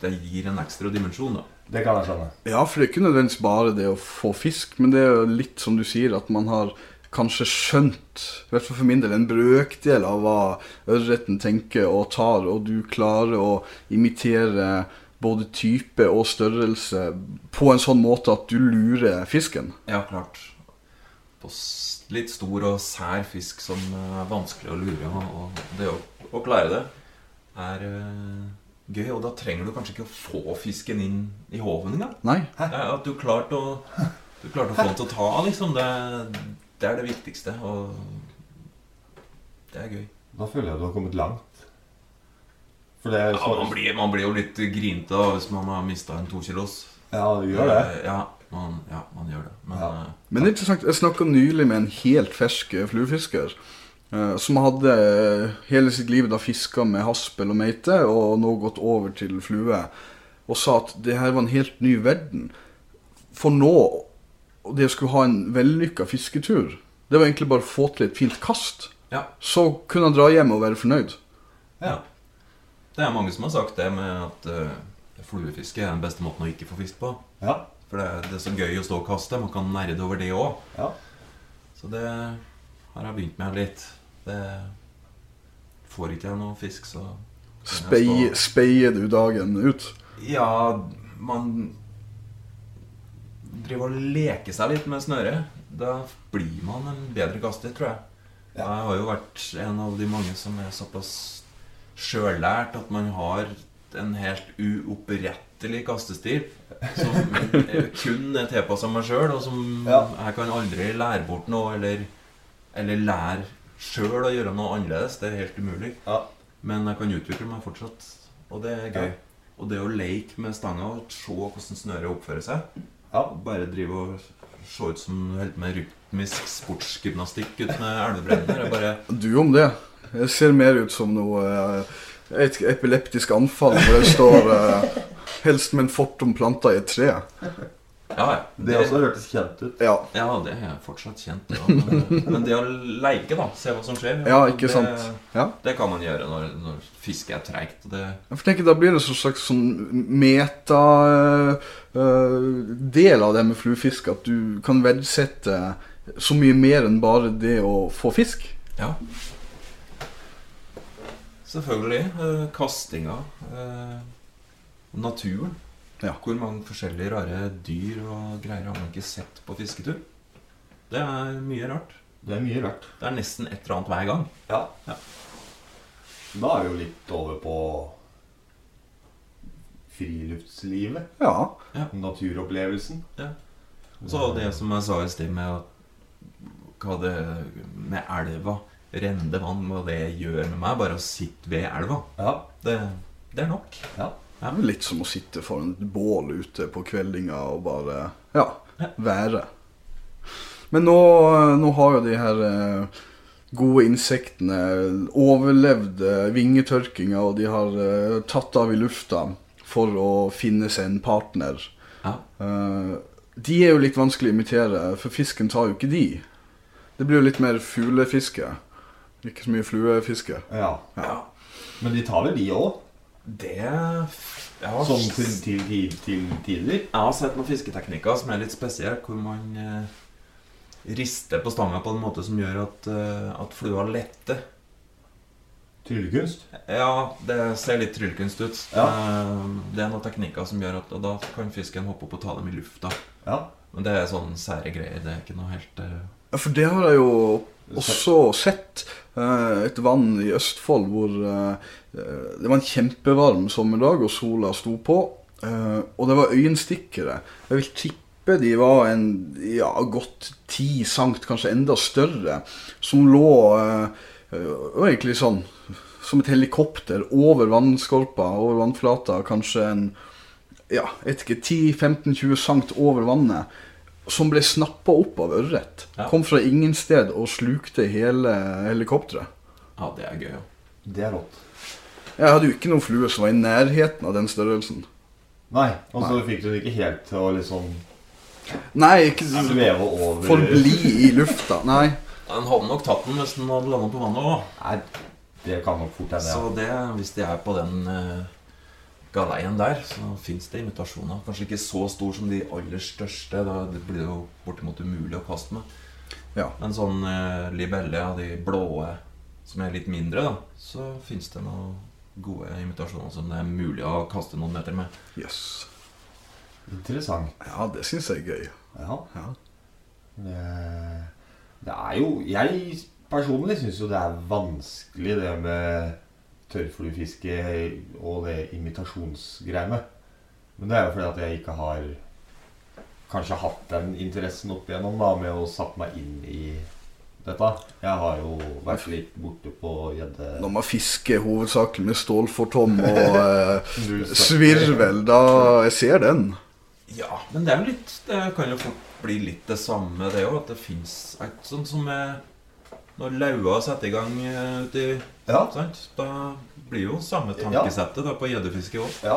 S4: Det gir en ekstra dimensjon, da.
S2: det kan jeg skjønne.
S3: Ja, for det er ikke nødvendigvis bare det å få fisk, men det er jo litt som du sier, at man har kanskje skjønt, i hvert fall for min del, en brøkdel av hva ørreten tenker og tar, og du klarer å imitere både type og størrelse på en sånn måte at du lurer fisken.
S4: Ja, klart. På s- litt stor og sær fisk som eh, er vanskelig å lure. og- Og det å, å klare det er eh, gøy. Og da trenger du kanskje ikke å få fisken inn i håven engang.
S3: Nei,
S4: Det er at du klarte å, du klarte å få den til å ta, liksom. Det, det er det viktigste. Og det er gøy.
S2: Da føler jeg du har kommet langt. For det er
S4: Ja,
S2: så,
S4: man, blir, man blir jo litt grinete da, hvis man har mista en tokilos.
S2: Ja, du gjør det?
S4: Eh, Ja, man, ja, man gjør det. Men
S2: Ja.
S4: eh,
S3: Men det er interessant, jeg snakka nylig med en helt fersk eh, fluefisker. eh, Som hadde eh, hele sitt liv da fiska med haspel og meite, og nå gått over til flue. Og sa at det her var en helt ny verden. For nå, og det å skulle ha en vellykka fisketur, det var egentlig bare å få til et fint kast.
S4: Ja.
S3: Så kunne han dra hjem og være fornøyd.
S4: Ja. Det er mange som har sagt det med at eh, fluefiske er den beste måten å ikke få fisk på.
S2: Ja.
S4: For det, er- det er så gøy å stå og kaste. Man kan nerde over det òg.
S2: Ja.
S4: Så det har jeg begynt med litt. Det får ikke jeg noe fisk, så
S3: Spei, speier du dagen ut?
S4: Ja, man driver og leker seg litt med snøret. Da blir man en bedre kaster, tror jeg.
S2: Ja.
S4: Jeg har jo vært en av de mange som er såpass sjøllært at man har en helt uopprettelig kastestil som eh, kun er tilpassa meg sjøl, og som
S2: Ja.
S4: jeg kan aldri lære bort noe eller, eller lære sjøl å gjøre noe annerledes. Det er helt umulig.
S2: Ja.
S4: Men jeg kan utvikle meg fortsatt, og det er gøy.
S2: Ja.
S4: Og det å leke med stanga og se hvordan snøret oppfører seg
S2: Ja.
S4: og Bare drive og se ut som du holder på med rytmisk sportsgymnastikk uten elvebredden. Det er bare
S3: Du om det. Jeg ser mer ut som noe eh, et epileptisk anfall hvor det står eh, 'Helst med en fortom planta i et tre'.
S4: Ja, ja.
S2: Det også hørtes kjent ut.
S3: Ja,
S4: Ja, det er fortsatt kjent. Ja. Men, men det å leke, da. Se hva som skjer.
S3: ja ikke
S4: det,
S3: sant? Ja.
S4: Det kan man gjøre når, når fisket er treigt. og Det,
S3: Jeg tenker Da blir det en slags sånn meta-del av det med fluefiske. At du kan verdsette så mye mer enn bare det å få fisk.
S4: Ja. Selvfølgelig. eh, Kastinga. eh, Naturen.
S3: Ja.
S4: Hvor mange forskjellige rare dyr og greier har man ikke sett på fisketur? Det er mye rart.
S2: Det er mye rart.
S4: Det er nesten et eller annet hver gang.
S2: Ja.
S4: Ja.
S2: Da er vi jo litt over på friluftslivet.
S3: Ja.
S2: Naturopplevelsen.
S4: Og Så det som jeg sa i sted med at hva det med elva, rennende vann, hva det gjør med meg, bare å sitte ved elva,
S2: Ja.
S4: det, det er nok.
S2: ja.
S3: Det er vel litt som å sitte foran et bål ute på kveldinga og bare ja, være. Men nå, nå har jo de her eh, gode insektene overlevd eh, vingetørkinga, og de har eh, tatt av i lufta for å finne seg en partner.
S4: Ja.
S3: Eh, De er jo litt vanskelig å imitere, for fisken tar jo ikke de. Det blir jo litt mer fuglefiske. Ikke så mye fluefiske.
S2: ja.
S4: ja.
S2: Men de tar vel de òg?
S4: Det jeg har,
S2: Sånn til, til, til, til tider?
S4: jeg har sett noen fisketeknikker som er litt spesielle, hvor man eh, rister på stanga på en måte som gjør at, eh, at flua letter.
S2: Tryllekunst?
S4: Ja, det ser litt tryllekunst ut.
S2: Ja.
S4: Eh, det er noen teknikker som gjør at og da kan fisken hoppe opp og ta dem i lufta.
S2: Ja.
S4: Men det er sånn sære greier. Det er ikke noe helt eh,
S3: Ja, for det har jeg jo også sett. eh, Et vann i Østfold hvor eh, det var en kjempevarm sommerdag, og sola sto på. eh, Og det var øyenstikkere. Jeg vil tippe de var en, ja, godt ti sankt, kanskje enda større, som lå eh, eh, egentlig sånn som et helikopter over vannskorpa, over vannflata, kanskje en ja, jeg vet ikke, 10-15-20 sankt over vannet, som ble snappa opp av ørret.
S4: Ja.
S3: Kom fra ingen sted og slukte hele helikopteret.
S4: Ja, det er gøy. ja.
S2: Det er rått.
S3: Jeg hadde jo ikke noen flue som var i nærheten av den størrelsen.
S2: Nei. Og så fikk du det ikke helt til å liksom
S3: Nei, ikke
S2: sveve over
S3: forbli i lufta. Nei.
S4: Den hadde nok tatt den hvis den hadde landa på vannet òg.
S2: Nei, det kan nok fort hende.
S4: Så
S2: ja.
S4: det, hvis de er på den eh, galeien der, så fins det imitasjoner. Kanskje ikke så stor som de aller største. Da det blir det jo bortimot umulig å kaste med.
S3: Ja.
S4: Men sånn eh, libelle av de blåe som er litt mindre, da, så fins det noen gode imitasjoner som det er mulig å kaste noen meter med.
S3: Jøss. Yes.
S2: Interessant.
S3: Ja, det syns jeg er gøy.
S2: Ja.
S3: Ja.
S2: Det, Eh, det er jo Jeg personlig syns jo det er vanskelig, det med tørrfluefiske og det imitasjonsgreiene. Men det er jo fordi at jeg ikke har kanskje hatt den interessen opp igjennom da, med å satt meg inn i dette. Jeg har jo vært litt borte på gjedde...
S3: Når man fisker hovedsakelig med stålfortom og eh,
S2: Null støtte.
S3: svirvel, da Jeg ser den.
S4: Ja, men det er jo litt Det kan jo fort bli litt det samme, det òg. At det fins et sånn som er Når laua setter i gang eh, uti
S2: Ja,
S4: sant? Da blir jo samme
S2: Ja.
S4: tankesettet da på gjeddefiske òg.
S2: ja.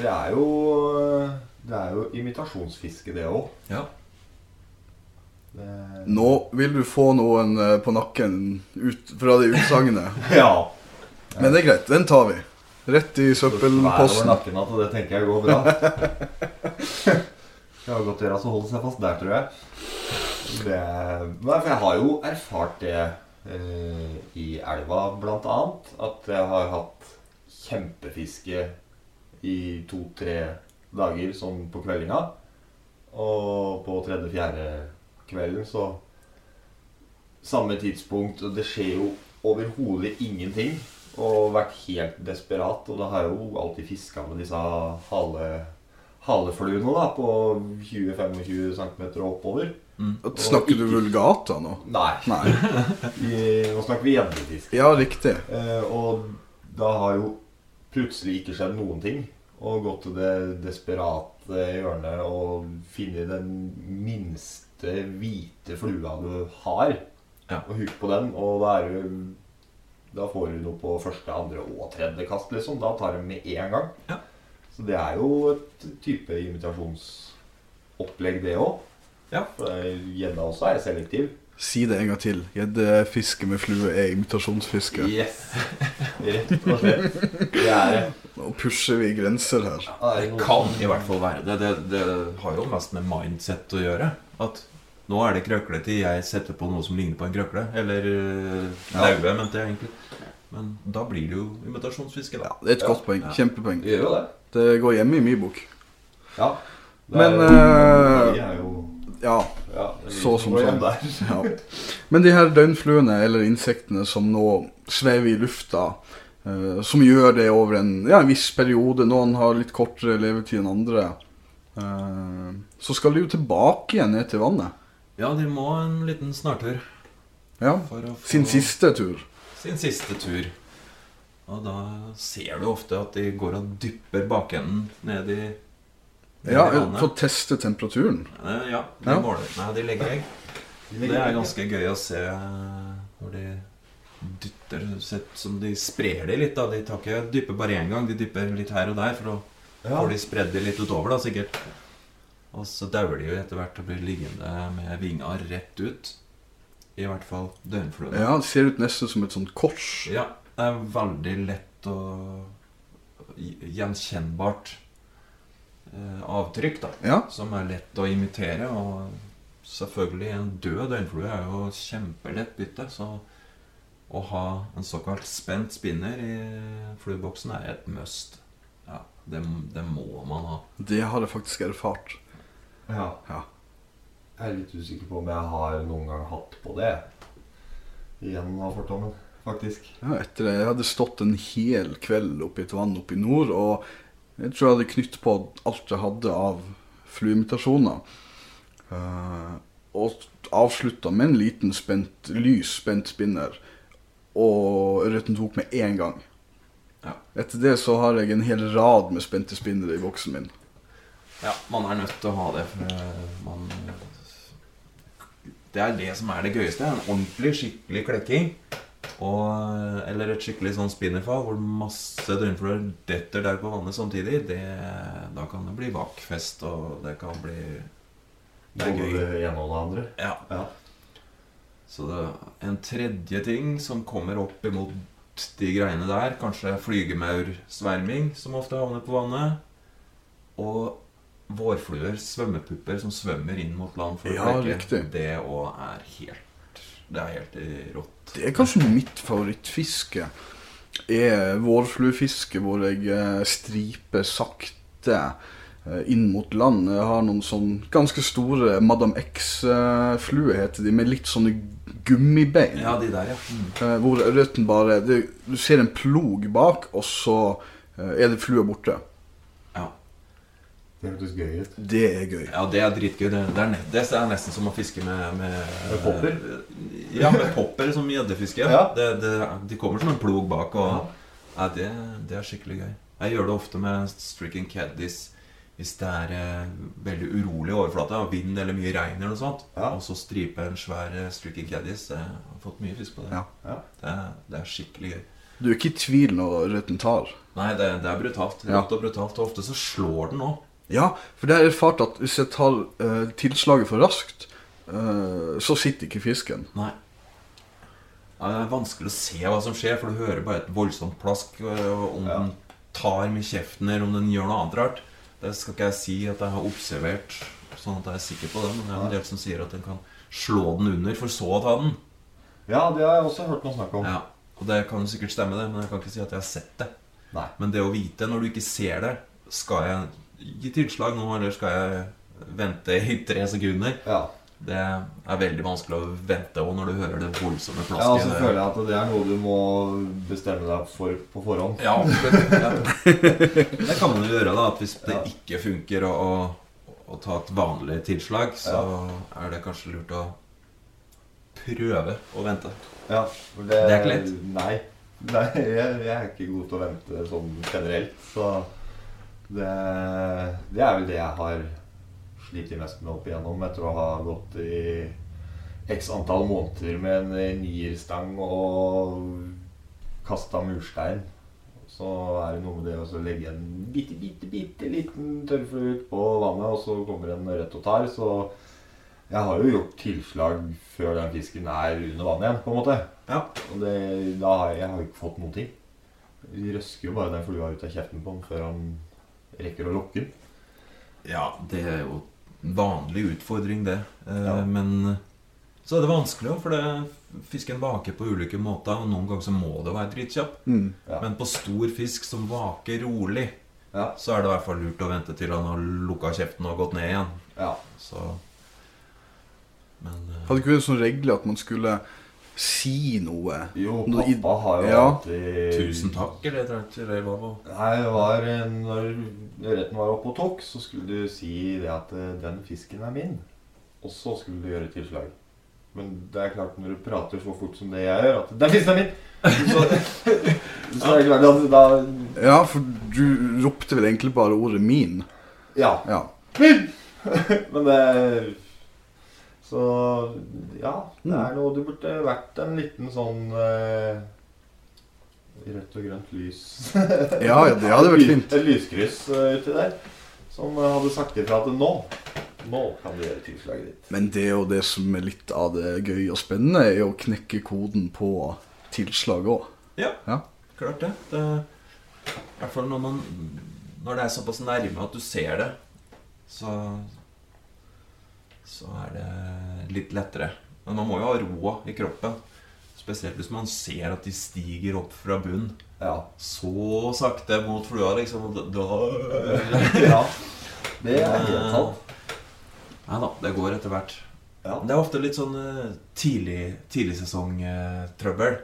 S2: Det er jo eh, Det er jo imitasjonsfiske, det òg.
S4: Ja.
S3: Nå vil du få noen eh, på nakken ut fra det utsagnet.
S2: Ja.
S3: Men det er greit, den tar vi. Rett i søppelposten.
S2: Svær over nakken at det tenker jeg går bra. Det har godt å gjøre å holde seg fast der, tror jeg. Det, nei, for jeg har jo erfart det eh, i elva, blant annet. At jeg har hatt kjempefiske i to-tre dager sånn på kveldinga. Og på tredje-fjerde kvelden så Samme tidspunkt, og det skjer jo overhodet ingenting. Og vært helt desperat. Og da har jeg jo alltid fiska med disse hale, halefluene da, på 20-25 cm oppover.
S3: Snakker du vulgata nå?
S2: Nei,
S3: Nei.
S2: vi, nå snakker vi gjeddefiske.
S3: Ja, riktig.
S2: Eh, og da har jo plutselig ikke skjedd noen ting. Og gått til det desperate hjørnet og funnet den minste hvite flua du har,
S4: Ja.
S2: og huk på den. Og da er du Da får du noe på første, andre og tredje kast, liksom. Da tar du med én gang.
S4: Ja.
S2: Så det er jo et type imitasjonsopplegg, det òg.
S4: Ja.
S2: For gjedda også er selektiv.
S3: Si det en gang til. Gjeddefiske med flue er imitasjonsfiske.
S2: Yes! Rett og slett. Det er det.
S3: Nå pusher vi grenser her.
S2: Er
S4: Det
S2: noe
S4: kan
S2: som-
S4: i hvert fall være det. Det, det har jo mest med mindset å gjøre. At nå er det krøkletid, jeg setter på noe som ligner på en krøkle. Eller øh,
S2: Ja.
S4: laue, mente jeg egentlig. Men da blir det jo imitasjonsfiske,
S3: Ja,
S4: da.
S3: det er et godt poeng.
S4: Ja.
S3: Kjempepoeng.
S2: Det gjør jo det.
S3: Det går hjemme i min bok.
S2: Ja. Det
S3: Men,
S2: er,
S3: eh,
S2: de er jo,
S3: Ja.
S2: ja, det er de
S3: så som
S2: går
S3: sånn.
S2: hjem Der.
S3: ja. Men de her døgnfluene, eller insektene, som nå svever i lufta, eh, som gjør det over en, ja, en viss periode, noen har litt kortere levetid enn andre, eh, så skal de jo tilbake igjen ned til vannet.
S4: Ja, de må en liten snartur.
S3: Ja.
S4: For å få
S3: Sin siste tur.
S4: sin siste tur. Og da ser du ofte at de går og dypper bakenden ned i ned
S3: Ja,
S4: i vannet.
S3: For å teste temperaturen.
S4: Eh, Ja, de
S3: Ja.
S4: måler. Nei, de legger egg. Det er ganske gøy å se eh, når de dytter sett som de sprer det litt. da De tar ikke dypper bare én gang, de dypper litt her og der. For da
S2: ja.
S4: får de spredd det litt utover, da sikkert. Og så dauer de jo etter hvert og blir liggende med vinga rett ut. I hvert fall døgnfluene.
S3: Ja, Det ser ut nesten som et sånt kors.
S4: Ja, det er veldig lett og gjenkjennbart eh, avtrykk, da.
S3: Ja,
S4: Som er lett å imitere. Og selvfølgelig, en død døgnflue er jo kjempelett bytte. Så å ha en såkalt spent spinner i flueboksen er et must. Ja, det, det må man ha.
S3: det har jeg faktisk erfart.
S2: ja.
S3: Ja.
S2: Jeg er litt usikker på om jeg har noen gang hatt på det. Igjen av fortommen, faktisk.
S3: Ja, etter det, Jeg hadde stått en hel kveld oppe i et vann oppe i nord, og jeg tror jeg hadde knytt på alt jeg hadde av fluimitasjoner. Eh, og avslutta med en liten spent, lys spent spinner, og ørreten tok med én gang.
S4: Ja.
S3: Etter det så har jeg en hel rad med spente spinnere i boksen min.
S4: Ja, man er nødt til å ha det, for eh, man Det er det som er det gøyeste. En ordentlig, skikkelig klekking. Og, eller et skikkelig sånn spinnerfall hvor masse døgnfluer detter der på vannet samtidig. Det, da kan det bli vakfest, og det kan bli Det er
S2: Både
S4: gøy.
S2: det ene og det andre.
S4: Ja.
S2: Ja.
S4: Så det, en tredje ting som kommer opp imot de greiene der, kanskje flygemaursverming, som ofte havner på vannet, og vårfluer, svømmepupper, som svømmer inn mot land for å
S3: Ja,
S4: klekke.
S3: riktig.
S4: Det òg er helt Det er helt rått.
S3: Det er kanskje mitt favorittfiske. Er vårfluefiske hvor jeg eh, striper sakte eh, inn mot land. Jeg har noen sånn ganske store Madam X-fluer, heter de, med litt sånne gummibein.
S4: Ja, de der, ja. Mm.
S3: Eh, Hvor ørreten bare det, Du ser en plog bak, og så eh, er det flua borte.
S4: ja.
S2: Det hørtes gøy ut.
S3: Det er gøy.
S4: Ja, det er dritgøy. Det, det, er, ne- det er nesten som å fiske med Med,
S2: Med popper?
S4: Ja, med popper som gjeddefiske.
S2: Ja.
S4: Det, det, de kommer som en plog bak. Og, ja, det, det er skikkelig gøy. Jeg gjør det ofte med stricken caddies hvis det er eh, veldig urolig overflate. og Vind eller mye regn eller noe sånt.
S2: Ja.
S4: Og så stripe en svær eh, stricken caddies. Jeg har fått mye fisk på det.
S3: Ja.
S2: Ja.
S4: Det, er- det er skikkelig gøy.
S3: Du er ikke i tvil når ørreten tar.
S4: Nei, det, det er brutalt.
S3: Ja.
S4: Rått og brutalt. Og ofte så slår den òg.
S3: Ja, for det har jeg erfart at hvis jeg tar eh, tilslaget for raskt, eh, så sitter ikke fisken.
S4: Nei. Ja, det er vanskelig å se hva som skjer, for du hører bare et voldsomt plask. øh, og Om
S2: Ja.
S4: den tar med kjeften, eller om den gjør noe annet rart. Det skal ikke jeg si at jeg har observert, sånn at jeg er sikker på det. Men det er en del som sier at den kan slå den under, for så å ta den.
S2: Ja, det har jeg også hørt noen snakke om.
S4: Ja, Og det kan sikkert stemme, det, men jeg kan ikke si at jeg har sett det.
S2: Nei.
S4: Men det å vite når du ikke ser det Skal jeg gi tilslag nå, eller skal jeg vente i tre sekunder?
S2: Ja.
S4: Det er veldig vanskelig å vente og når du hører det voldsomme
S2: ja, og så
S4: plasket.
S2: føler jeg at det er noe du må bestemme deg for på forhånd.
S4: Ja, absolutt. Ja. Det kan man jo gjøre, da. At hvis det
S2: Ja.
S4: ikke funker å, å, å ta et vanlig tilslag, så er det kanskje lurt å prøve å vente.
S2: Ja, for det,
S4: Det er ikke lett.
S2: Nei. nei jeg, jeg er ikke god til å vente sånn generelt. Så det, det er vel det jeg har slitt mest med opp igjennom etter å ha gått i x antall måneder med en eh, nierstang og kasta murstein. Så er det noe med det å så legge en bitte, bitte, bitte liten tørrflue ut på vannet, og så kommer en rødt og tar. Så jeg har jo gjort tilslag før den fisken er under vannet igjen, på en måte.
S4: Ja.
S2: Og det, da har jeg, jeg har jo ikke fått noen ting. Vi røsker jo bare den flua ut av kjeften på den før han rekker å lokke den.
S4: Ja, det er jo en vanlig utfordring, det. Eh,
S2: Ja.
S4: Men så er det vanskelig òg, for det, fisken vaker på ulike måter. Og noen ganger så må det være dritkjapp.
S3: Mm.
S2: Ja.
S4: Men på stor fisk som vaker rolig,
S2: Ja.
S4: så er det i hvert fall lurt å vente til han har lukka kjeften og gått ned igjen.
S2: Ja.
S4: Så Men eh,
S3: Hadde ikke vært sånn regel at man skulle si noe.
S2: Jo,
S3: Nå i-
S2: pappa har jo
S3: ja.
S2: alltid
S4: tusen takk, eller jeg tror ikke det var hva-
S2: Nei, det var eh, Når ørreten var oppe og tok, så skulle du si det at eh, 'den fisken er min'. Og så skulle du gjøre tilslag. Men det er klart, når du prater så fort som det jeg gjør, at 'den fisken er min'! Så, så er det klart at da
S3: Ja, for du ropte vel egentlig bare ordet 'min'.
S2: Ja.
S3: Ja.
S2: Min! Men det Så ja, det er
S3: Mm.
S2: noe Du burde vært en liten sånn eh, rødt og grønt lys
S3: Ja, ja, det hadde vært fint.
S2: Et lyskryss eh, uti der som eh, hadde sagt ifra at nå Nå kan du gjøre tilslaget ditt.
S3: Men det er jo det som er litt av det gøye og spennende, er å knekke koden på tilslag òg.
S4: Ja,
S3: Ja.
S4: klart det. det I hvert fall når man Når det er såpass nærme at du ser det, så Så er det litt lettere. Men man må jo ha roa i kroppen. Spesielt hvis man ser at de stiger opp fra bunnen
S2: Ja.
S4: så sakte mot flua, liksom. og Da
S2: ja. Det er helt sant.
S4: Nei da, det går etter hvert.
S2: Ja.
S4: Det er ofte litt sånn eh, tidlig, tidlig sesongtrøbbel.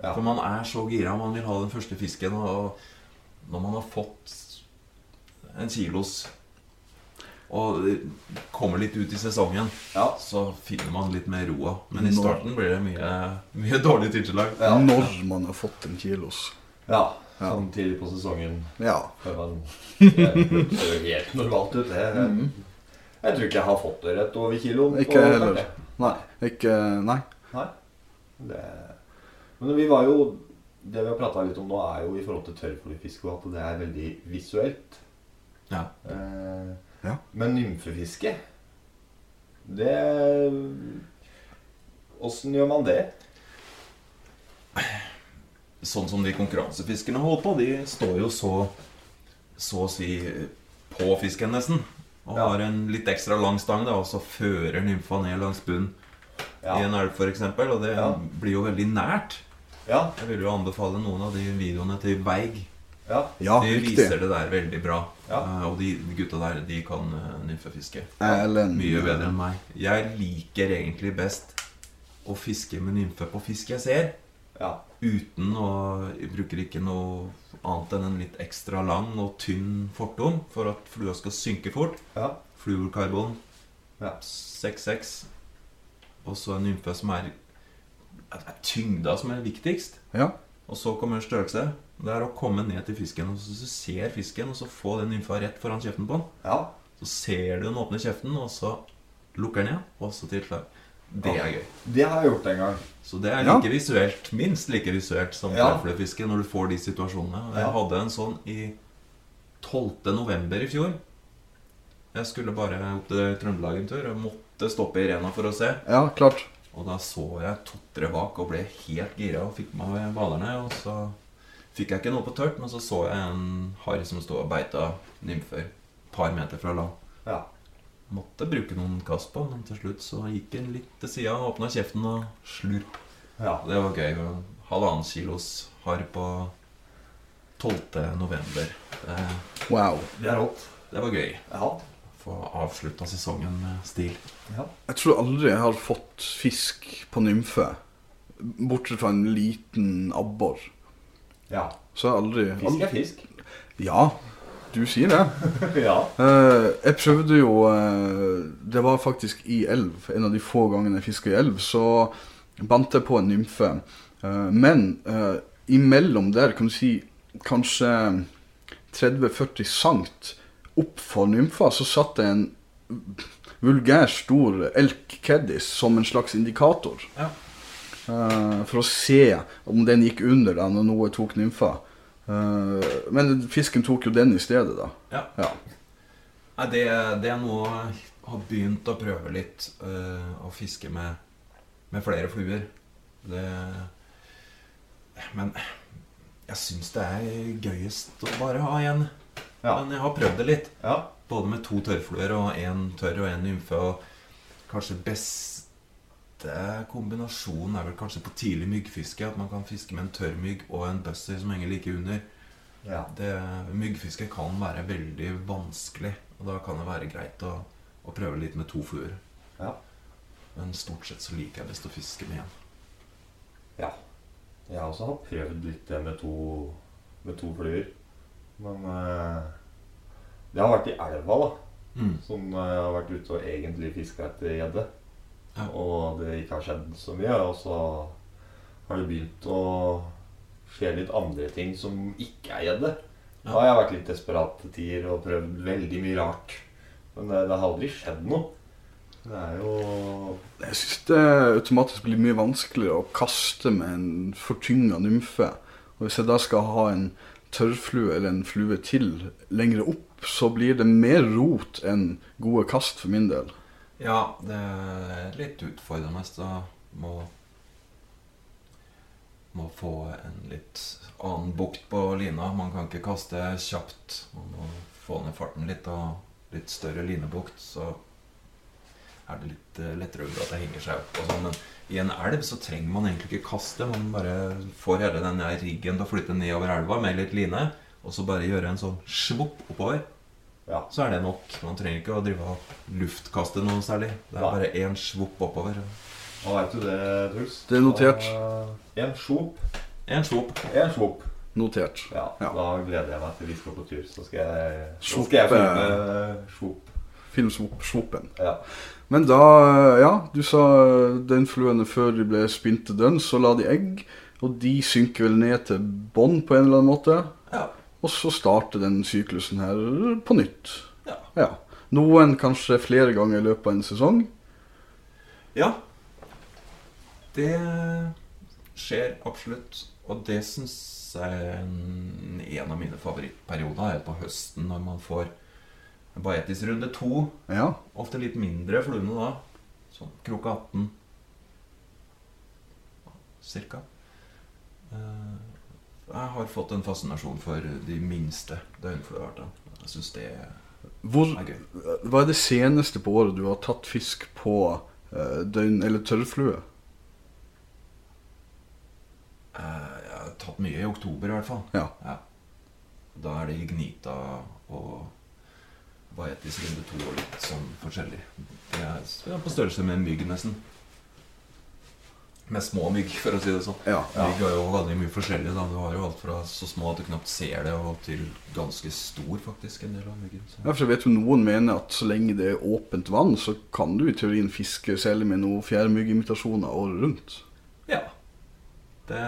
S2: Ja.
S4: For man er så gira, man vil ha den første fisken. Og når man har fått en kilos og kommer litt ut i sesongen,
S2: Ja.
S4: så finner man litt mer roa. Men i
S3: Nå-
S4: starten blir det mye, mye dårlig tilslag.
S2: Ja.
S3: Når man har fått en kilos.
S2: ja. Sånn tidlig på sesongen.
S3: Ja.
S2: Før man Det ser jo helt normalt ut, det. Jeg tror ikke jeg har fått det rett over kiloen.
S3: Mm. Ikke
S2: på-
S3: jeg heller. Nei. Ikke Nei.
S2: Nei. Det... Men vi var jo Det vi har prata litt om nå, er jo i forhold til tørrfluefiske, og at det er veldig visuelt.
S4: Ja.
S2: Eh,
S3: Ja.
S2: Men nymfefiske, det Åssen gjør man det?
S4: sånn som de konkurransefiskerne holder på, de står jo så så å si på fisken nesten. Og
S2: Ja.
S4: har en litt ekstra lang stang, da, og så fører nymfa ned langs bunnen i en elv f.eks. Og det
S2: Ja.
S4: blir jo veldig nært.
S2: ja,
S4: Jeg vil jo anbefale noen av de videoene til Veig.
S2: ja.
S3: Ja,
S4: de
S3: riktig.
S4: viser det der veldig bra.
S2: Ja.
S4: Eh, Og de gutta der, de kan eh, nymfefiske.
S3: Erlend
S4: Mye bedre enn meg. Jeg liker egentlig best å fiske med nymfe på fisk jeg ser.
S2: ja.
S4: Uten å Jeg bruker ikke noe annet enn en litt ekstra lang og tynn fortom for at flua skal synke fort.
S2: ja.
S4: Fluorkarbon
S2: Ja.
S4: 66. Og så en nymfe som er Det er tyngda som er viktigst.
S3: Ja.
S4: Og så kommer størrelse. Det er å komme ned til fisken, og så så ser fisken, og så få den nymfa rett foran kjeften på den.
S2: ja.
S4: Så ser du den åpne kjeften, og så lukker den igjen, og så tilslag. Det er gøy.
S2: Det har jeg gjort en gang.
S4: Så det er
S3: Ja.
S4: like visuelt, minst like visuelt som
S2: Ja.
S4: tørrfluefiske når du får de situasjonene. Og
S2: Ja.
S4: Jeg hadde en sånn i 12. november i fjor. Jeg skulle bare opp til Trøndelag en tur og måtte stoppe i Rena for å se.
S3: Ja, klart.
S4: Og da så jeg to-tre bak og ble helt gira og fikk med meg hvalerne. Og så fikk jeg ikke noe på tørt, men så så jeg en harr som sto og beita nymfer et par meter fra land.
S2: Ja.
S4: Måtte bruke noen kast på, men til slutt så gikk den litt til sida, åpna kjeften og slurp.
S2: ja.
S4: Det var gøy. Halvannen kilos harr på 12. november. Eh,
S3: Wow.
S2: Det er rått.
S4: Det var gøy.
S2: Ja.
S4: Få avslutta sesongen med stil.
S2: ja.
S3: Jeg tror aldri jeg har fått fisk på nymfe, bortsett fra en liten abbor.
S2: ja.
S3: Så jeg har aldri,
S2: Fisk er fisk.
S3: aldri Ja, du sier det.
S2: ja.
S3: Eh, jeg prøvde jo eh, Det var faktisk i elv. En av de få gangene jeg fiska i elv, så bandt jeg på en nymfe. Eh, men eh, imellom der, kan du si kanskje 30-40 sankt opp for nymfa, så satt det en vulgær stor elk-caddis som en slags indikator.
S4: Ja.
S3: Eh, for å se om den gikk under da når noe tok nymfa. Eh, men fisken tok jo den i stedet, da.
S4: Ja.
S3: Ja.
S4: Nei, det, det er noe jeg har begynt å prøve litt. eh, å fiske med, med flere fluer. Det Men jeg syns det er gøyest å bare ha én.
S2: Ja.
S4: Men jeg har prøvd det litt.
S2: ja.
S4: Både med to tørrfluer og én tørr og én nymfe. Og kanskje beste kombinasjonen er vel kanskje på tidlig myggfiske. At man kan fiske med en tørr mygg og en buzzer som henger like under.
S2: ja.
S4: Det, myggfiske kan være veldig vanskelig, og da kan det være greit å, å prøve litt med to fluer.
S2: Ja.
S4: Men stort sett så liker jeg best å fiske med én.
S2: Ja. Jeg også har prøvd litt det med to, med to fluer. Men eh, det har vært i elva, da. Som eh, har vært ute og egentlig fiska etter gjedde.
S4: Ja.
S2: Og det ikke har skjedd så mye. Og så har det begynt å skje litt andre ting som ikke er gjedde. Da har jeg vært litt desperat til tider og prøvd veldig mye rart. Men det, det har aldri skjedd noe. Det er jo
S3: Jeg syns det automatisk blir mye vanskeligere å kaste med en fortynga nymfe. Og hvis jeg da skal ha en tørrflue eller en flue til lengre opp, så blir det mer rot enn gode kast for min del.
S4: Ja, det er litt utfordrende. så Da må, må få en litt annen bukt på lina. Man kan ikke kaste kjapt. Man må få ned farten litt, og litt større linebukt, så er det litt eh, lettere å unngå at det henger seg opp. Og sånn. Men i en elv så trenger man egentlig ikke kaste. Man bare får hele den der riggen til å flytte nedover elva med litt line, og så bare gjøre en sånn svopp oppover
S2: Ja.
S4: så er det nok. Man trenger ikke å drive og luftkaste noe særlig. Det er
S2: Nei.
S4: bare én svopp oppover.
S2: Hva veit du det, Truls?
S3: Det er notert.
S2: Én sjop.
S4: Én svopp.
S2: En svop.
S3: Notert.
S2: Ja,
S3: Ja.
S2: Da gleder jeg meg til vi skal på tur. Så skal jeg, så
S3: Svop,
S2: skal jeg
S3: eh,
S2: finne svop.
S3: Filmsvoppen.
S2: Ja.
S3: Men da, ja, du sa den fluen før de ble spint til dønn, så la de egg. Og de synker vel ned til bånn på en eller annen måte.
S4: Ja.
S3: Og så starter den syklusen her på nytt.
S4: Ja.
S3: Noen kanskje flere ganger i løpet av en sesong.
S4: ja. Det skjer absolutt. Og det syns jeg er en en av mine favorittperioder er på høsten, når man får Baetis runde to.
S3: Ja.
S4: Ofte litt mindre fluene da. Sånn krok 18. Cirka. Eh, Jeg har fått en fascinasjon for de minste døgnflueartene. Jeg syns det er
S3: Hvor,
S4: gøy.
S3: hva er det seneste på året du har tatt fisk på eh, døgn- eller tørrflue?
S4: Eh, Jeg har tatt mye i oktober i hvert fall.
S3: Ja.
S4: Da er det Ignita og Baetis runde to og litt sånn forskjellig. Det er det er på størrelse med en mygg, nesten. Med små mygg, for å si det sånn.
S3: ja.
S4: Ja. Mygg er jo veldig mye forskjellig. da Du har jo alt fra så små at du knapt ser det, og til ganske stor, faktisk. En del av myggen. Så.
S3: Ja, for jeg vet jo Noen mener at så lenge det er åpent vann, så kan du i teorien fiske selv med noen fjærmyggimitasjoner året rundt.
S4: Ja. Det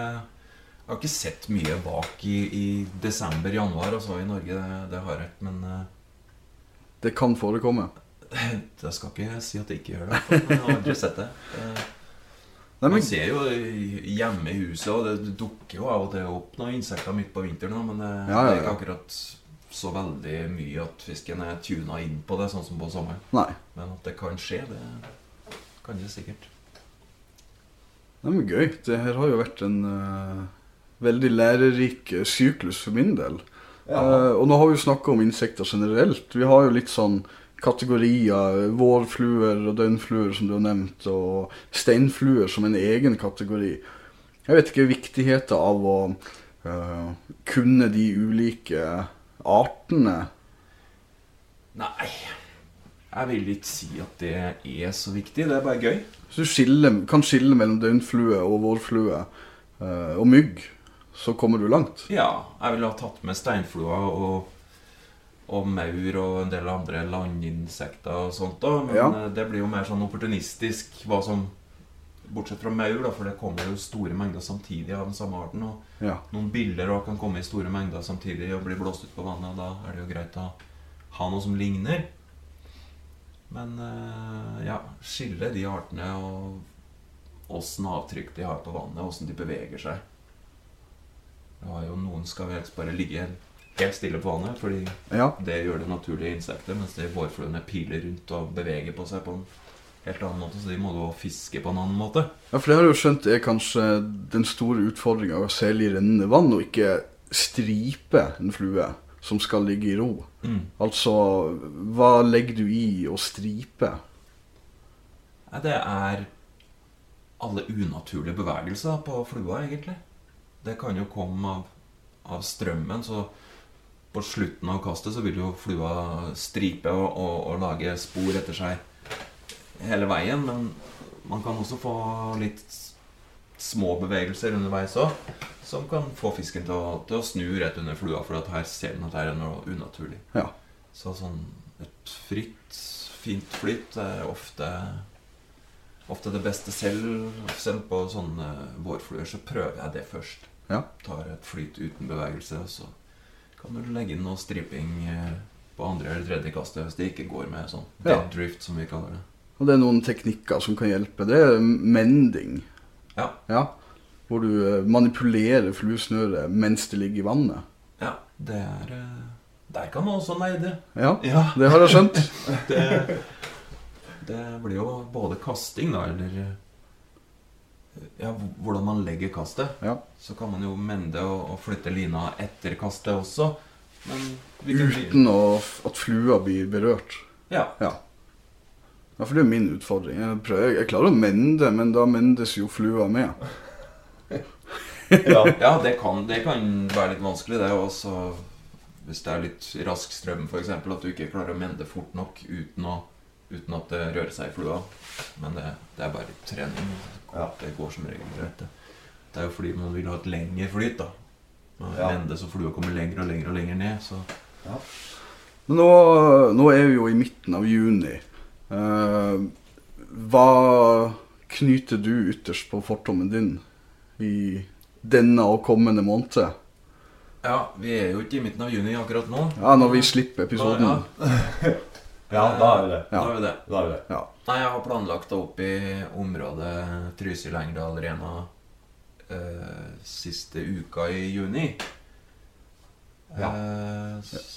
S4: Jeg har ikke sett mye bak i, i desember-januar altså i Norge, det, det har jeg. ikke, Men
S3: Det kan forekomme.
S4: eh, jeg skal ikke si at jeg ikke gjør det. i hvert fall, Men jeg har aldri sett det. Eh,
S3: Nei, men,
S4: Man ser jo i- hjemme i huset, og det dukker jo av og til opp noen insekter midt på vinteren. da, Men eh, det,
S3: Ja, ja,
S4: det er
S3: ja.
S4: ikke akkurat så veldig mye at fisken er tuna inn på det, sånn som på sommeren.
S3: nei.
S4: Men at det kan skje, det kan det sikkert.
S3: Nei, men gøy. Det her har jo vært en eh, veldig lærerik eh, syklus for min del.
S2: Ja.
S3: Eh, og nå har vi jo snakka om insekter generelt. Vi har jo litt sånn kategorier. Vårfluer og døgnfluer, som du har nevnt, og steinfluer som en egen kategori. Jeg vet ikke viktigheten av å eh, kunne de ulike artene
S4: Nei, jeg vil ikke si at det er så viktig. Det er bare gøy.
S3: Hvis du skiller, kan skille mellom døgnflue og vårflue eh, og mygg, så kommer du langt.
S4: Ja, jeg ville ha tatt med steinflua og, og maur og en del andre landinsekter og sånt da, men
S3: Ja.
S4: eh, det blir jo mer sånn opportunistisk hva som Bortsett fra maur, da, for det kommer jo store mengder samtidig av den samme arten. Og
S3: Ja.
S4: noen biller også kan komme i store mengder samtidig og bli blåst ut på vannet. og Da er det jo greit å ha noe som ligner. Men eh, ja, skille de artene og åssen avtrykk de har på vannet, åssen de beveger seg. Det har jo Noen skal vel helst bare ligge helt stille på vannet, fordi
S3: ja.
S4: det gjør det naturlige insektet, mens de vårfluene piler rundt og beveger på seg på en helt annen måte, så de må du også fiske på en annen måte.
S3: Ja, for det har jeg jo skjønt er kanskje den store utfordringa, særlig i rennende vann, og ikke stripe en flue som skal ligge i ro.
S4: Mm.
S3: Altså, hva legger du i å stripe?
S4: Nei, det er alle unaturlige bevegelser på flua, egentlig. Det kan jo komme av, av strømmen, så på slutten av kastet så vil jo flua stripe og, og, og lage spor etter seg hele veien, men man kan også få litt s- små bevegelser underveis òg, som kan få fisken til å, til å snu rett under flua, for at her ser den at det er noe unaturlig.
S3: Ja.
S4: Så sånn et fritt, fint flyt er ofte Ofte det beste selv. Selv på sånne vårfluer så prøver jeg det først.
S3: Ja.
S4: Tar et flyt uten bevegelse, og så kan du legge inn noe striping eh, på andre eller tredje kastet hvis det ikke går med sånn
S3: Ja.
S4: dead drift, som vi kaller det.
S3: Og det er noen teknikker som kan hjelpe. Det er mending.
S4: Ja.
S3: Hvor du eh, manipulerer fluesnøret mens det ligger i vannet.
S4: Ja, det er eh, Der kan man også neide.
S3: Ja,
S4: Ja.
S3: det har jeg skjønt.
S4: det, det blir jo både kasting, da, eller eh, Ja, hvordan man legger kastet.
S3: Ja.
S4: Så kan man jo mende og, og flytte lina etter kastet også. Men vi kan bli-
S3: Uten å, at flua blir berørt.
S4: Ja.
S3: Ja, for det er min utfordring. Jeg, prøver, jeg klarer å mende, men da mendes jo flua med.
S2: Ja.
S4: ja det, kan, det kan være litt vanskelig, det. Og så hvis det er litt rask strøm, f.eks., at du ikke klarer å mende fort nok uten, å, uten at det rører seg i flua. Men det, det er bare litt trening.
S2: Ja.
S4: Det går som regel greit. Det. det er jo fordi man vil ha et lengre flyt, da. Man
S2: Ja.
S4: Mende så flua kommer lenger og lenger og lenger ned. Så
S3: Men nå, nå er vi jo i midten av juni. Eh, hva knyter du ytterst på fortommen din i denne og kommende måned?
S4: ja, vi er jo ikke i midten av juni akkurat nå.
S3: Ja, når vi slipper episoden.
S4: Ja,
S2: ja, da er vi det.
S4: Da er vi det.
S2: Da er vi det.
S4: Nei, jeg har planlagt det opp i området Trysil Engdal Rena eh, siste uka i juni.
S2: Ja.
S4: Eh,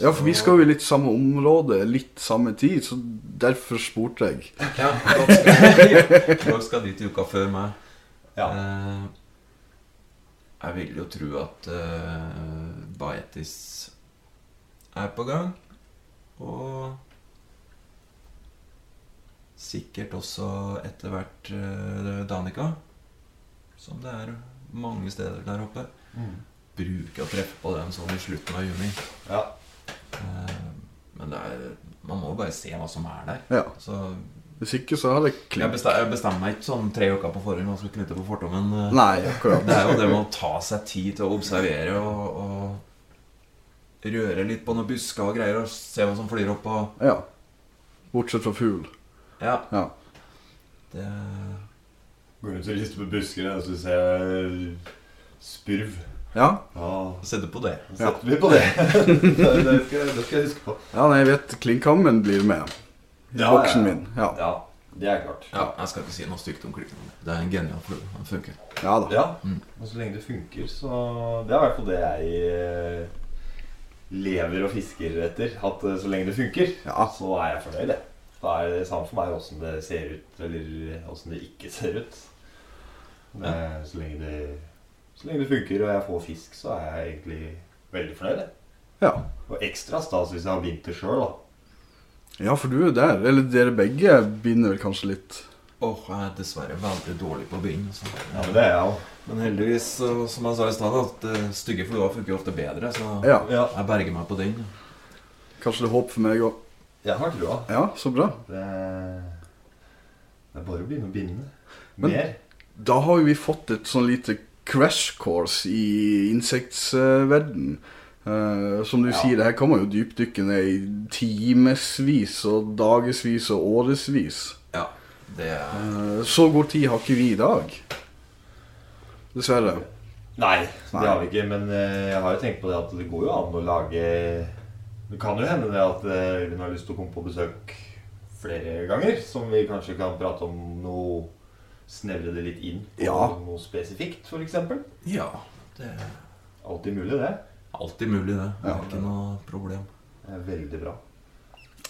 S3: Ja, for vi skal jo i litt samme område, litt samme tid, så derfor spurte jeg.
S4: Ja, dere skal, dere skal dit uka før meg.
S2: Ja.
S4: Eh, jeg vil jo tro at eh, Baetis er på gang. Og sikkert også etter hvert eh, Danica. Som det er mange steder der oppe.
S2: Mm.
S4: Bruker å treffe på den sånn i slutten av juni.
S2: Ja.
S4: Eh, men det er, man må jo bare se hva som er der.
S3: Ja,
S4: Så
S3: Hvis ikke så har det
S4: jeg
S3: klippet.
S4: bestemmer, jeg bestemmer meg ikke sånn tre uker på forhånd hva jeg skal knytte på fortommen. eh.
S3: Nei, akkurat.
S4: Det er jo det med å ta seg tid til å observere og, og røre litt på noen busker og greier og se hva som flyr opp og
S3: Ja. Bortsett fra fugl.
S4: Ja.
S3: Ja.
S4: Det,
S2: Går rundt og rister på busker, og så ser jeg spurv.
S3: Ja,
S2: Ja,
S4: Sette på det.
S2: da setter vi på det. det, skal, jeg- det skal jeg huske på.
S3: ja nei, jeg vet Klinkhammen blir med.
S2: Ja,
S3: Boksen
S2: ja, ja.
S3: min. Ja.
S2: Ja, det er klart.
S4: Ja, jeg skal ikke si noe stygt om klippen. Det er en genial flue. Den funker.
S3: ja da.
S2: Ja,
S4: Mm.
S2: og så lenge det funker, så Det er i hvert fall det jeg eh, lever og fisker etter. At eh, så lenge det funker,
S3: Ja.
S2: så er jeg fornøyd, jeg. Da er det samme for meg åssen det ser ut, eller åssen det ikke ser ut. Men, eh, så, lenge det, så lenge det funker og jeg får fisk, så er jeg egentlig veldig fornøyd. jeg.
S3: Ja.
S2: Og ekstra stas hvis jeg har vinter sjøl, da.
S3: Ja, for du er der. Eller dere begge binder vel kanskje litt.
S4: Å Åh, jeg er dessverre veldig dårlig på å begynne. altså.
S2: Ja, men det er jeg jo.
S4: Men heldigvis, så- som jeg sa i stad, at eh, stygge fluer funker ofte bedre, så
S3: Ja,
S2: Ja,
S4: jeg berger meg på den.
S3: kanskje det er håp for meg òg.
S2: jeg har trua.
S3: Ja, så bra.
S2: Det, det er bare å begynne å binde.
S3: Men-
S2: Mer.
S3: Da har jo vi fått et sånn lite crash course i insektsverden. Eh, som du
S2: Ja.
S3: sier, det her kan man jo dypdykke ned i timevis og dagevis og årevis.
S4: Ja, det er
S3: Eh, så god tid har ikke vi i dag. Dessverre.
S2: Nei,
S3: Nei.
S2: det har vi ikke. Men eh, jeg har jo tenkt på det at det går jo an å lage Det kan jo hende det at eh, Øyvind har lyst til å komme på besøk flere ganger. Som vi kanskje kan prate om noe Snevre det litt inn på
S3: Ja.
S2: noe spesifikt, f.eks.
S4: Ja, det er
S2: Alltid mulig, det.
S4: alltid mulig, det. Det
S3: Ja.
S4: er ikke noe problem.
S2: Det er veldig bra.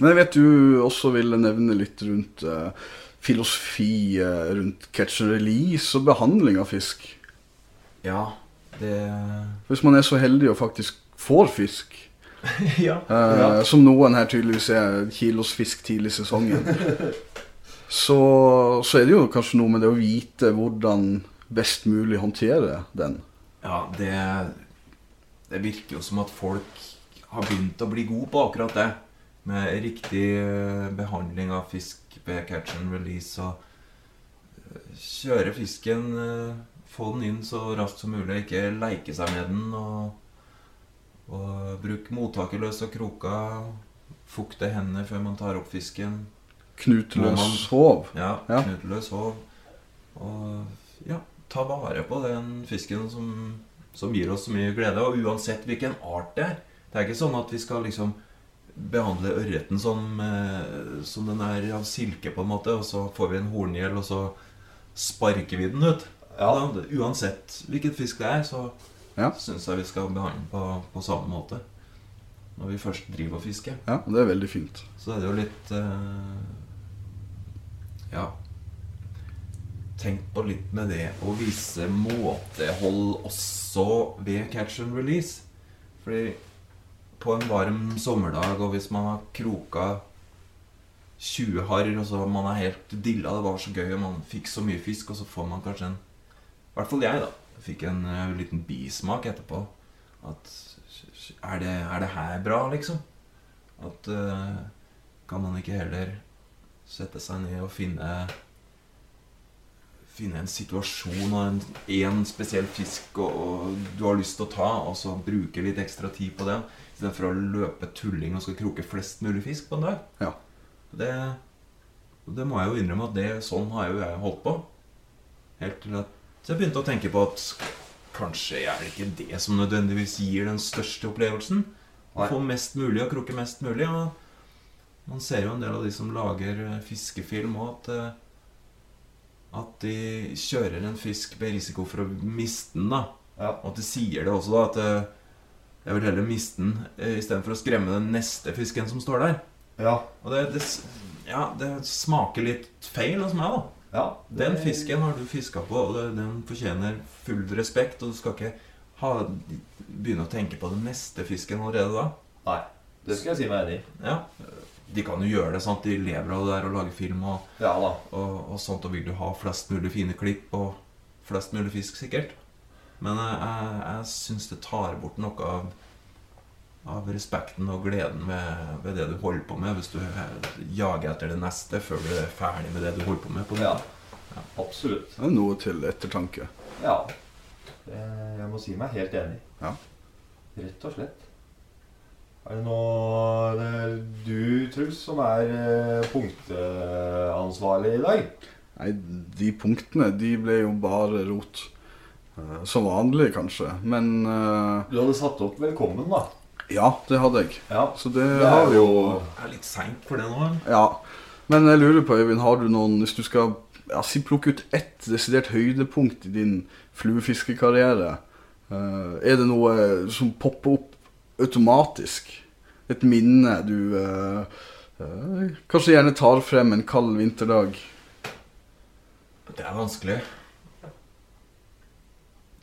S3: Men jeg vet du også ville nevne litt rundt eh, filosofi eh, rundt catch and release og behandling av fisk.
S4: Ja, det
S3: Hvis man er så heldig og faktisk får fisk,
S4: Ja.
S3: eh, som noen her tydeligvis er kilos fisk tidlig i sesongen, så, så er det jo kanskje noe med det å vite hvordan best mulig håndtere den.
S4: Ja, det, det virker jo som at folk har begynt å bli gode på akkurat det. Med riktig eh, behandling av fisk ved catch and release og eh, kjøre fisken, eh, få den inn så raskt som mulig, ikke leike seg med den. Og, og bruke mottaket løs og kroker. Fukte hendene før man tar opp fisken.
S3: Knuteløs håv.
S4: Ja,
S3: Ja.
S4: knut løs hov. Og ja, ta vare på den fisken som, som gir oss så mye glede. Og uansett hvilken art det er. Det er ikke sånn at vi skal liksom behandle ørreten som, eh, som den er av silke, på en måte, og så får vi en horngjell, og så sparker vi den ut.
S2: Ja.
S4: Da, uansett hvilken fisk det er, så
S3: Ja.
S4: syns jeg vi skal behandle den på, på samme måte. Når vi først driver og fisker.
S3: Ja, det er veldig fint.
S4: Så er det jo litt eh, Ja. Tenk på litt med det å vise måtehold også ved catch and release. Fordi på en varm sommerdag, og hvis man har kroka 20 harr, og så man er helt dilla, det var så gøy, og man fikk så mye fisk, og så får man kanskje en I hvert fall jeg, da. Fikk en eh, liten bismak etterpå. At er det, er det her bra, liksom? At eh, kan man ikke heller sette seg ned og finne Finne en situasjon og en, en spesiell fisk og, og du har lyst til å ta, og så bruke litt ekstra tid på den, istedenfor å løpe tulling og skal kroke flest mulig fisk på en dag.
S3: Ja.
S4: Det, og det må jeg jo innrømme at det, sånn har jo jeg holdt på. Helt til at jeg begynte å tenke på at kanskje er det ikke det som nødvendigvis gir den største opplevelsen.
S2: Nei.
S4: Få mest mulig og krukke mest mulig. Og man ser jo en del av de som lager eh, fiskefilm òg, at, eh, at de kjører en fisk med risiko for å miste den. da
S2: Ja.
S4: Og at de sier det også, da. At eh, jeg vil heller miste den eh, istedenfor å skremme den neste fisken som står der.
S2: Ja.
S4: Og det, det, s- ja, det smaker litt feil hos meg, da.
S2: ja.
S4: Den fisken har du fiska på, og det- den fortjener full respekt. Og du skal ikke ha, begynne å tenke på den neste fisken allerede da.
S2: Nei. Det skal jeg si meg enig i.
S4: Ja. De kan jo gjøre det, sant? de lever av det der å lage film og,
S2: Ja da.
S4: og, og sånt, og vil jo ha flest mulig fine klipp og flest mulig fisk, sikkert. Men jeg, jeg, jeg syns det tar bort noe av, av respekten og gleden ved, ved det du holder på med, hvis du eh, jager etter det neste før du er ferdig med det du holder på med. På
S2: Ja.
S4: det.
S2: Absolutt.
S3: Det er noe til ettertanke.
S2: Ja. Eh, Jeg må si meg helt enig.
S3: Ja.
S2: Rett og slett. Er det nå det er du, Truls, som er eh, punktansvarlig i dag?
S3: Nei, de punktene, de ble jo bare rot. Eh, som vanlig, kanskje. Men eh,
S2: Du hadde satt opp 'Velkommen', da.
S3: ja, det hadde jeg.
S2: Ja.
S3: Så det,
S2: Det
S3: har
S2: er
S3: vi jo
S2: jo-
S4: Jeg er litt seint for det nå.
S3: Ja. Men jeg lurer på, Øyvind, har du noen Hvis du skal ja, si plukke ut ett desidert høydepunkt i din fluefiskekarriere, eh, er det noe som popper opp automatisk? Et minne du eh, eh, kanskje gjerne tar frem en kald vinterdag?
S4: Det er vanskelig.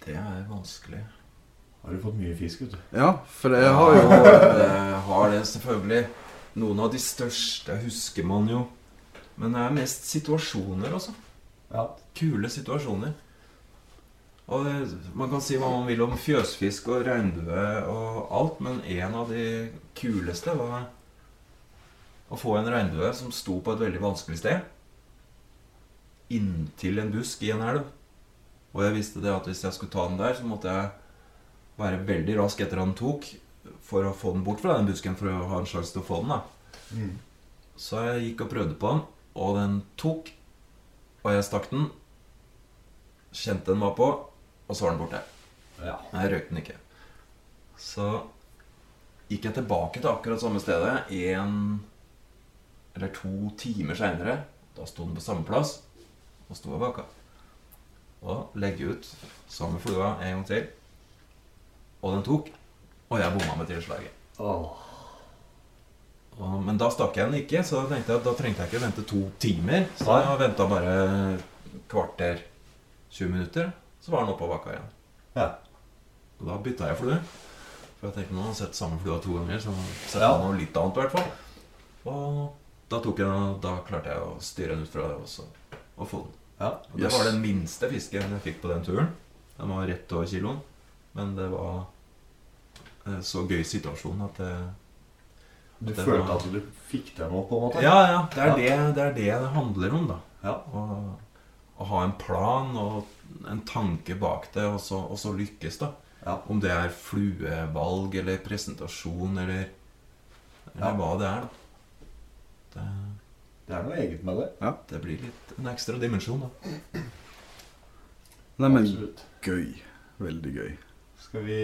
S4: Det er vanskelig.
S2: Har du fått mye fisk, vet du.
S3: Ja, for jeg har jo
S4: Jeg har det, selvfølgelig. Noen av de største husker man jo. Men det er mest situasjoner, altså.
S2: Ja.
S4: Kule situasjoner. Og det, Man kan si hva man vil om fjøsfisk og regnbue og alt, men en av de kuleste var å få en regnbue som sto på et veldig vanskelig sted, inntil en busk i en elv. Og jeg visste det at hvis jeg skulle ta den der, så måtte jeg være veldig rask etter han tok, for å få den bort fra den busken for å ha en sjanse til å få den. da.
S2: Mm.
S4: Så jeg gikk og prøvde på den, og den tok. Og jeg stakk den. Kjente den var på, og så var den borte.
S2: ja.
S4: Nei, jeg røyk den ikke. Så gikk jeg tilbake til akkurat samme stedet en eller to timer seinere. Da sto den på samme plass og sto og baka. Og legge ut samme flua en gang til. Og den tok. Og jeg bomma med tilslaget.
S2: Åh.
S4: Og, men da stakk jeg den ikke, så da tenkte jeg at da trengte jeg ikke vente to timer. Så
S2: Nei.
S4: jeg venta bare kvarter, 20 minutter, så var den oppe og vakka igjen.
S2: Ja.
S4: Og da bytta jeg flue. For jeg tenkte nå har jeg sett samme flua to ganger, så setter
S2: Ja.
S4: jeg noe litt annet i hvert fall. Og da tok jeg den, og da klarte jeg å styre den ut fra det også, og få den.
S2: Ja.
S4: Og det
S3: Yes.
S4: var den minste fisken jeg fikk på den turen. Den var rett over kiloen. Men det var eh, så gøy situasjon at det
S2: Du
S4: Det var-
S2: følte at du fikk til noe, på en måte?
S4: Ja, ja. Det er, Det, det er det det handler om, da.
S2: Ja.
S4: Å, å ha en plan og en tanke bak det, og så, og så lykkes, da.
S2: Ja.
S4: Om det er fluevalg eller presentasjon eller, eller
S2: Ja.
S4: hva det er, da. Det,
S2: Det er noe eget med det.
S4: det blir litt en ekstra dimensjon, da.
S3: Nei, men
S2: Absolutt.
S3: gøy. Veldig gøy.
S2: Skal vi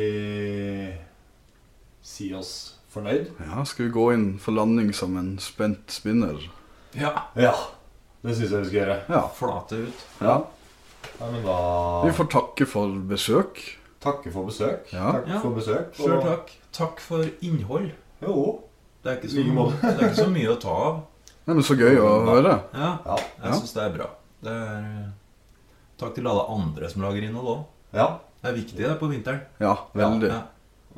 S2: si oss fornøyd?
S3: Ja, skal vi gå inn for landing som en spent spinner?
S4: Ja.
S2: Ja. Det syns jeg vi skal gjøre.
S3: Ja.
S4: Flate ut.
S3: ja.
S2: Ja, men da
S3: Vi får takke for besøk.
S2: takke for besøk.
S3: Ja.
S2: Takk
S4: Ja.
S2: for besøk.
S4: Sjøl takk. Takk for innhold.
S2: Jo.
S4: Det er ikke
S2: Like
S4: så,
S2: måte.
S4: det er ikke så mye å ta av.
S3: Nei, men så gøy å høre.
S2: Ja.
S4: Ja,
S3: Ja.
S4: jeg syns det er bra. Det er, eh, takk til alle andre som lager innhold òg.
S2: ja.
S4: Det er viktig det på vinteren.
S3: Ja, veldig.
S4: Ja.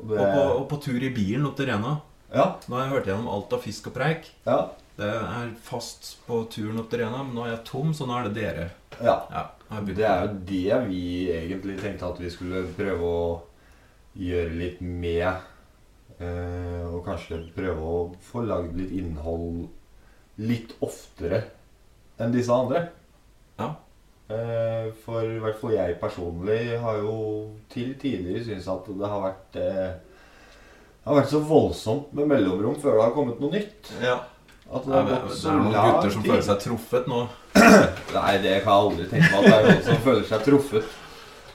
S2: Og
S4: Og
S2: det
S4: på, og på tur i bilen opp til Rena.
S2: Ja.
S4: Nå har jeg hørt gjennom alt av fisk og preik.
S2: Ja.
S4: Det er fast på turen opp til Rena, men nå er jeg tom, så nå er det dere.
S2: ja.
S4: Ja, nå har jeg begynt.
S2: Det er jo det vi egentlig tenkte at vi skulle prøve å gjøre litt med. eh, og kanskje prøve å få lagd litt innhold litt oftere enn disse andre.
S4: Ja.
S2: Eh, for i hvert fall jeg personlig har jo til tidligere syntes at det har vært eh, Det har vært så voldsomt med mellomrom før det har kommet noe nytt.
S4: ja.
S2: At det
S4: Det,
S2: har
S4: er,
S2: gått
S4: det
S2: så
S4: er noen
S2: lang
S4: gutter som
S2: tid.
S4: føler seg truffet nå.
S2: Nei, det kan jeg aldri tenke meg at det er noen som føler seg truffet.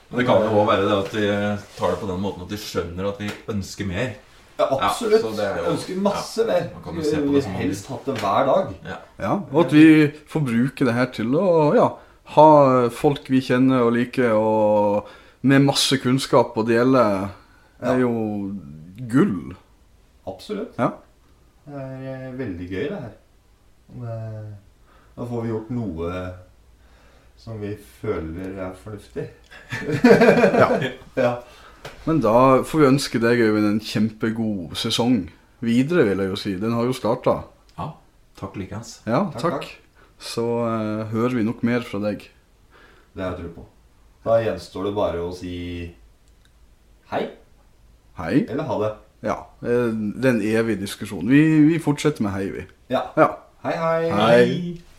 S4: Men det kan jo òg være det at de tar det på den måten at de skjønner at vi ønsker mer.
S2: Ja, absolutt.
S4: så det er jo-
S2: jeg ønsker masse mer.
S4: man kan jo
S2: Vi
S4: se på det
S2: vil
S4: som man
S2: helst hatt det hver dag.
S3: Ja, og at vi får bruke det her til å ja, ha folk vi kjenner og liker, og med masse kunnskap å dele, det er jo gull.
S2: Absolutt.
S3: Ja.
S2: Det er eh, veldig gøy, det her. Det- Da får vi gjort noe som vi føler er fornuftig.
S3: Ja.
S2: ja.
S3: Men da får vi ønske deg, Øyvind, en kjempegod sesong videre, vil jeg jo si. Den har jo starta.
S4: Ja. Takk likeens.
S3: Ja,
S2: Takk,
S3: takk. Så eh, hører vi nok mer fra deg.
S2: Det har jeg tro på. Da gjenstår det bare å si hei
S3: Hei.
S2: eller ha det.
S3: Ja. eh, Det er en evig diskusjon. Vi, vi fortsetter med hei, vi.
S2: Ja.
S3: Ja.
S2: Hei, hei.
S3: Hei.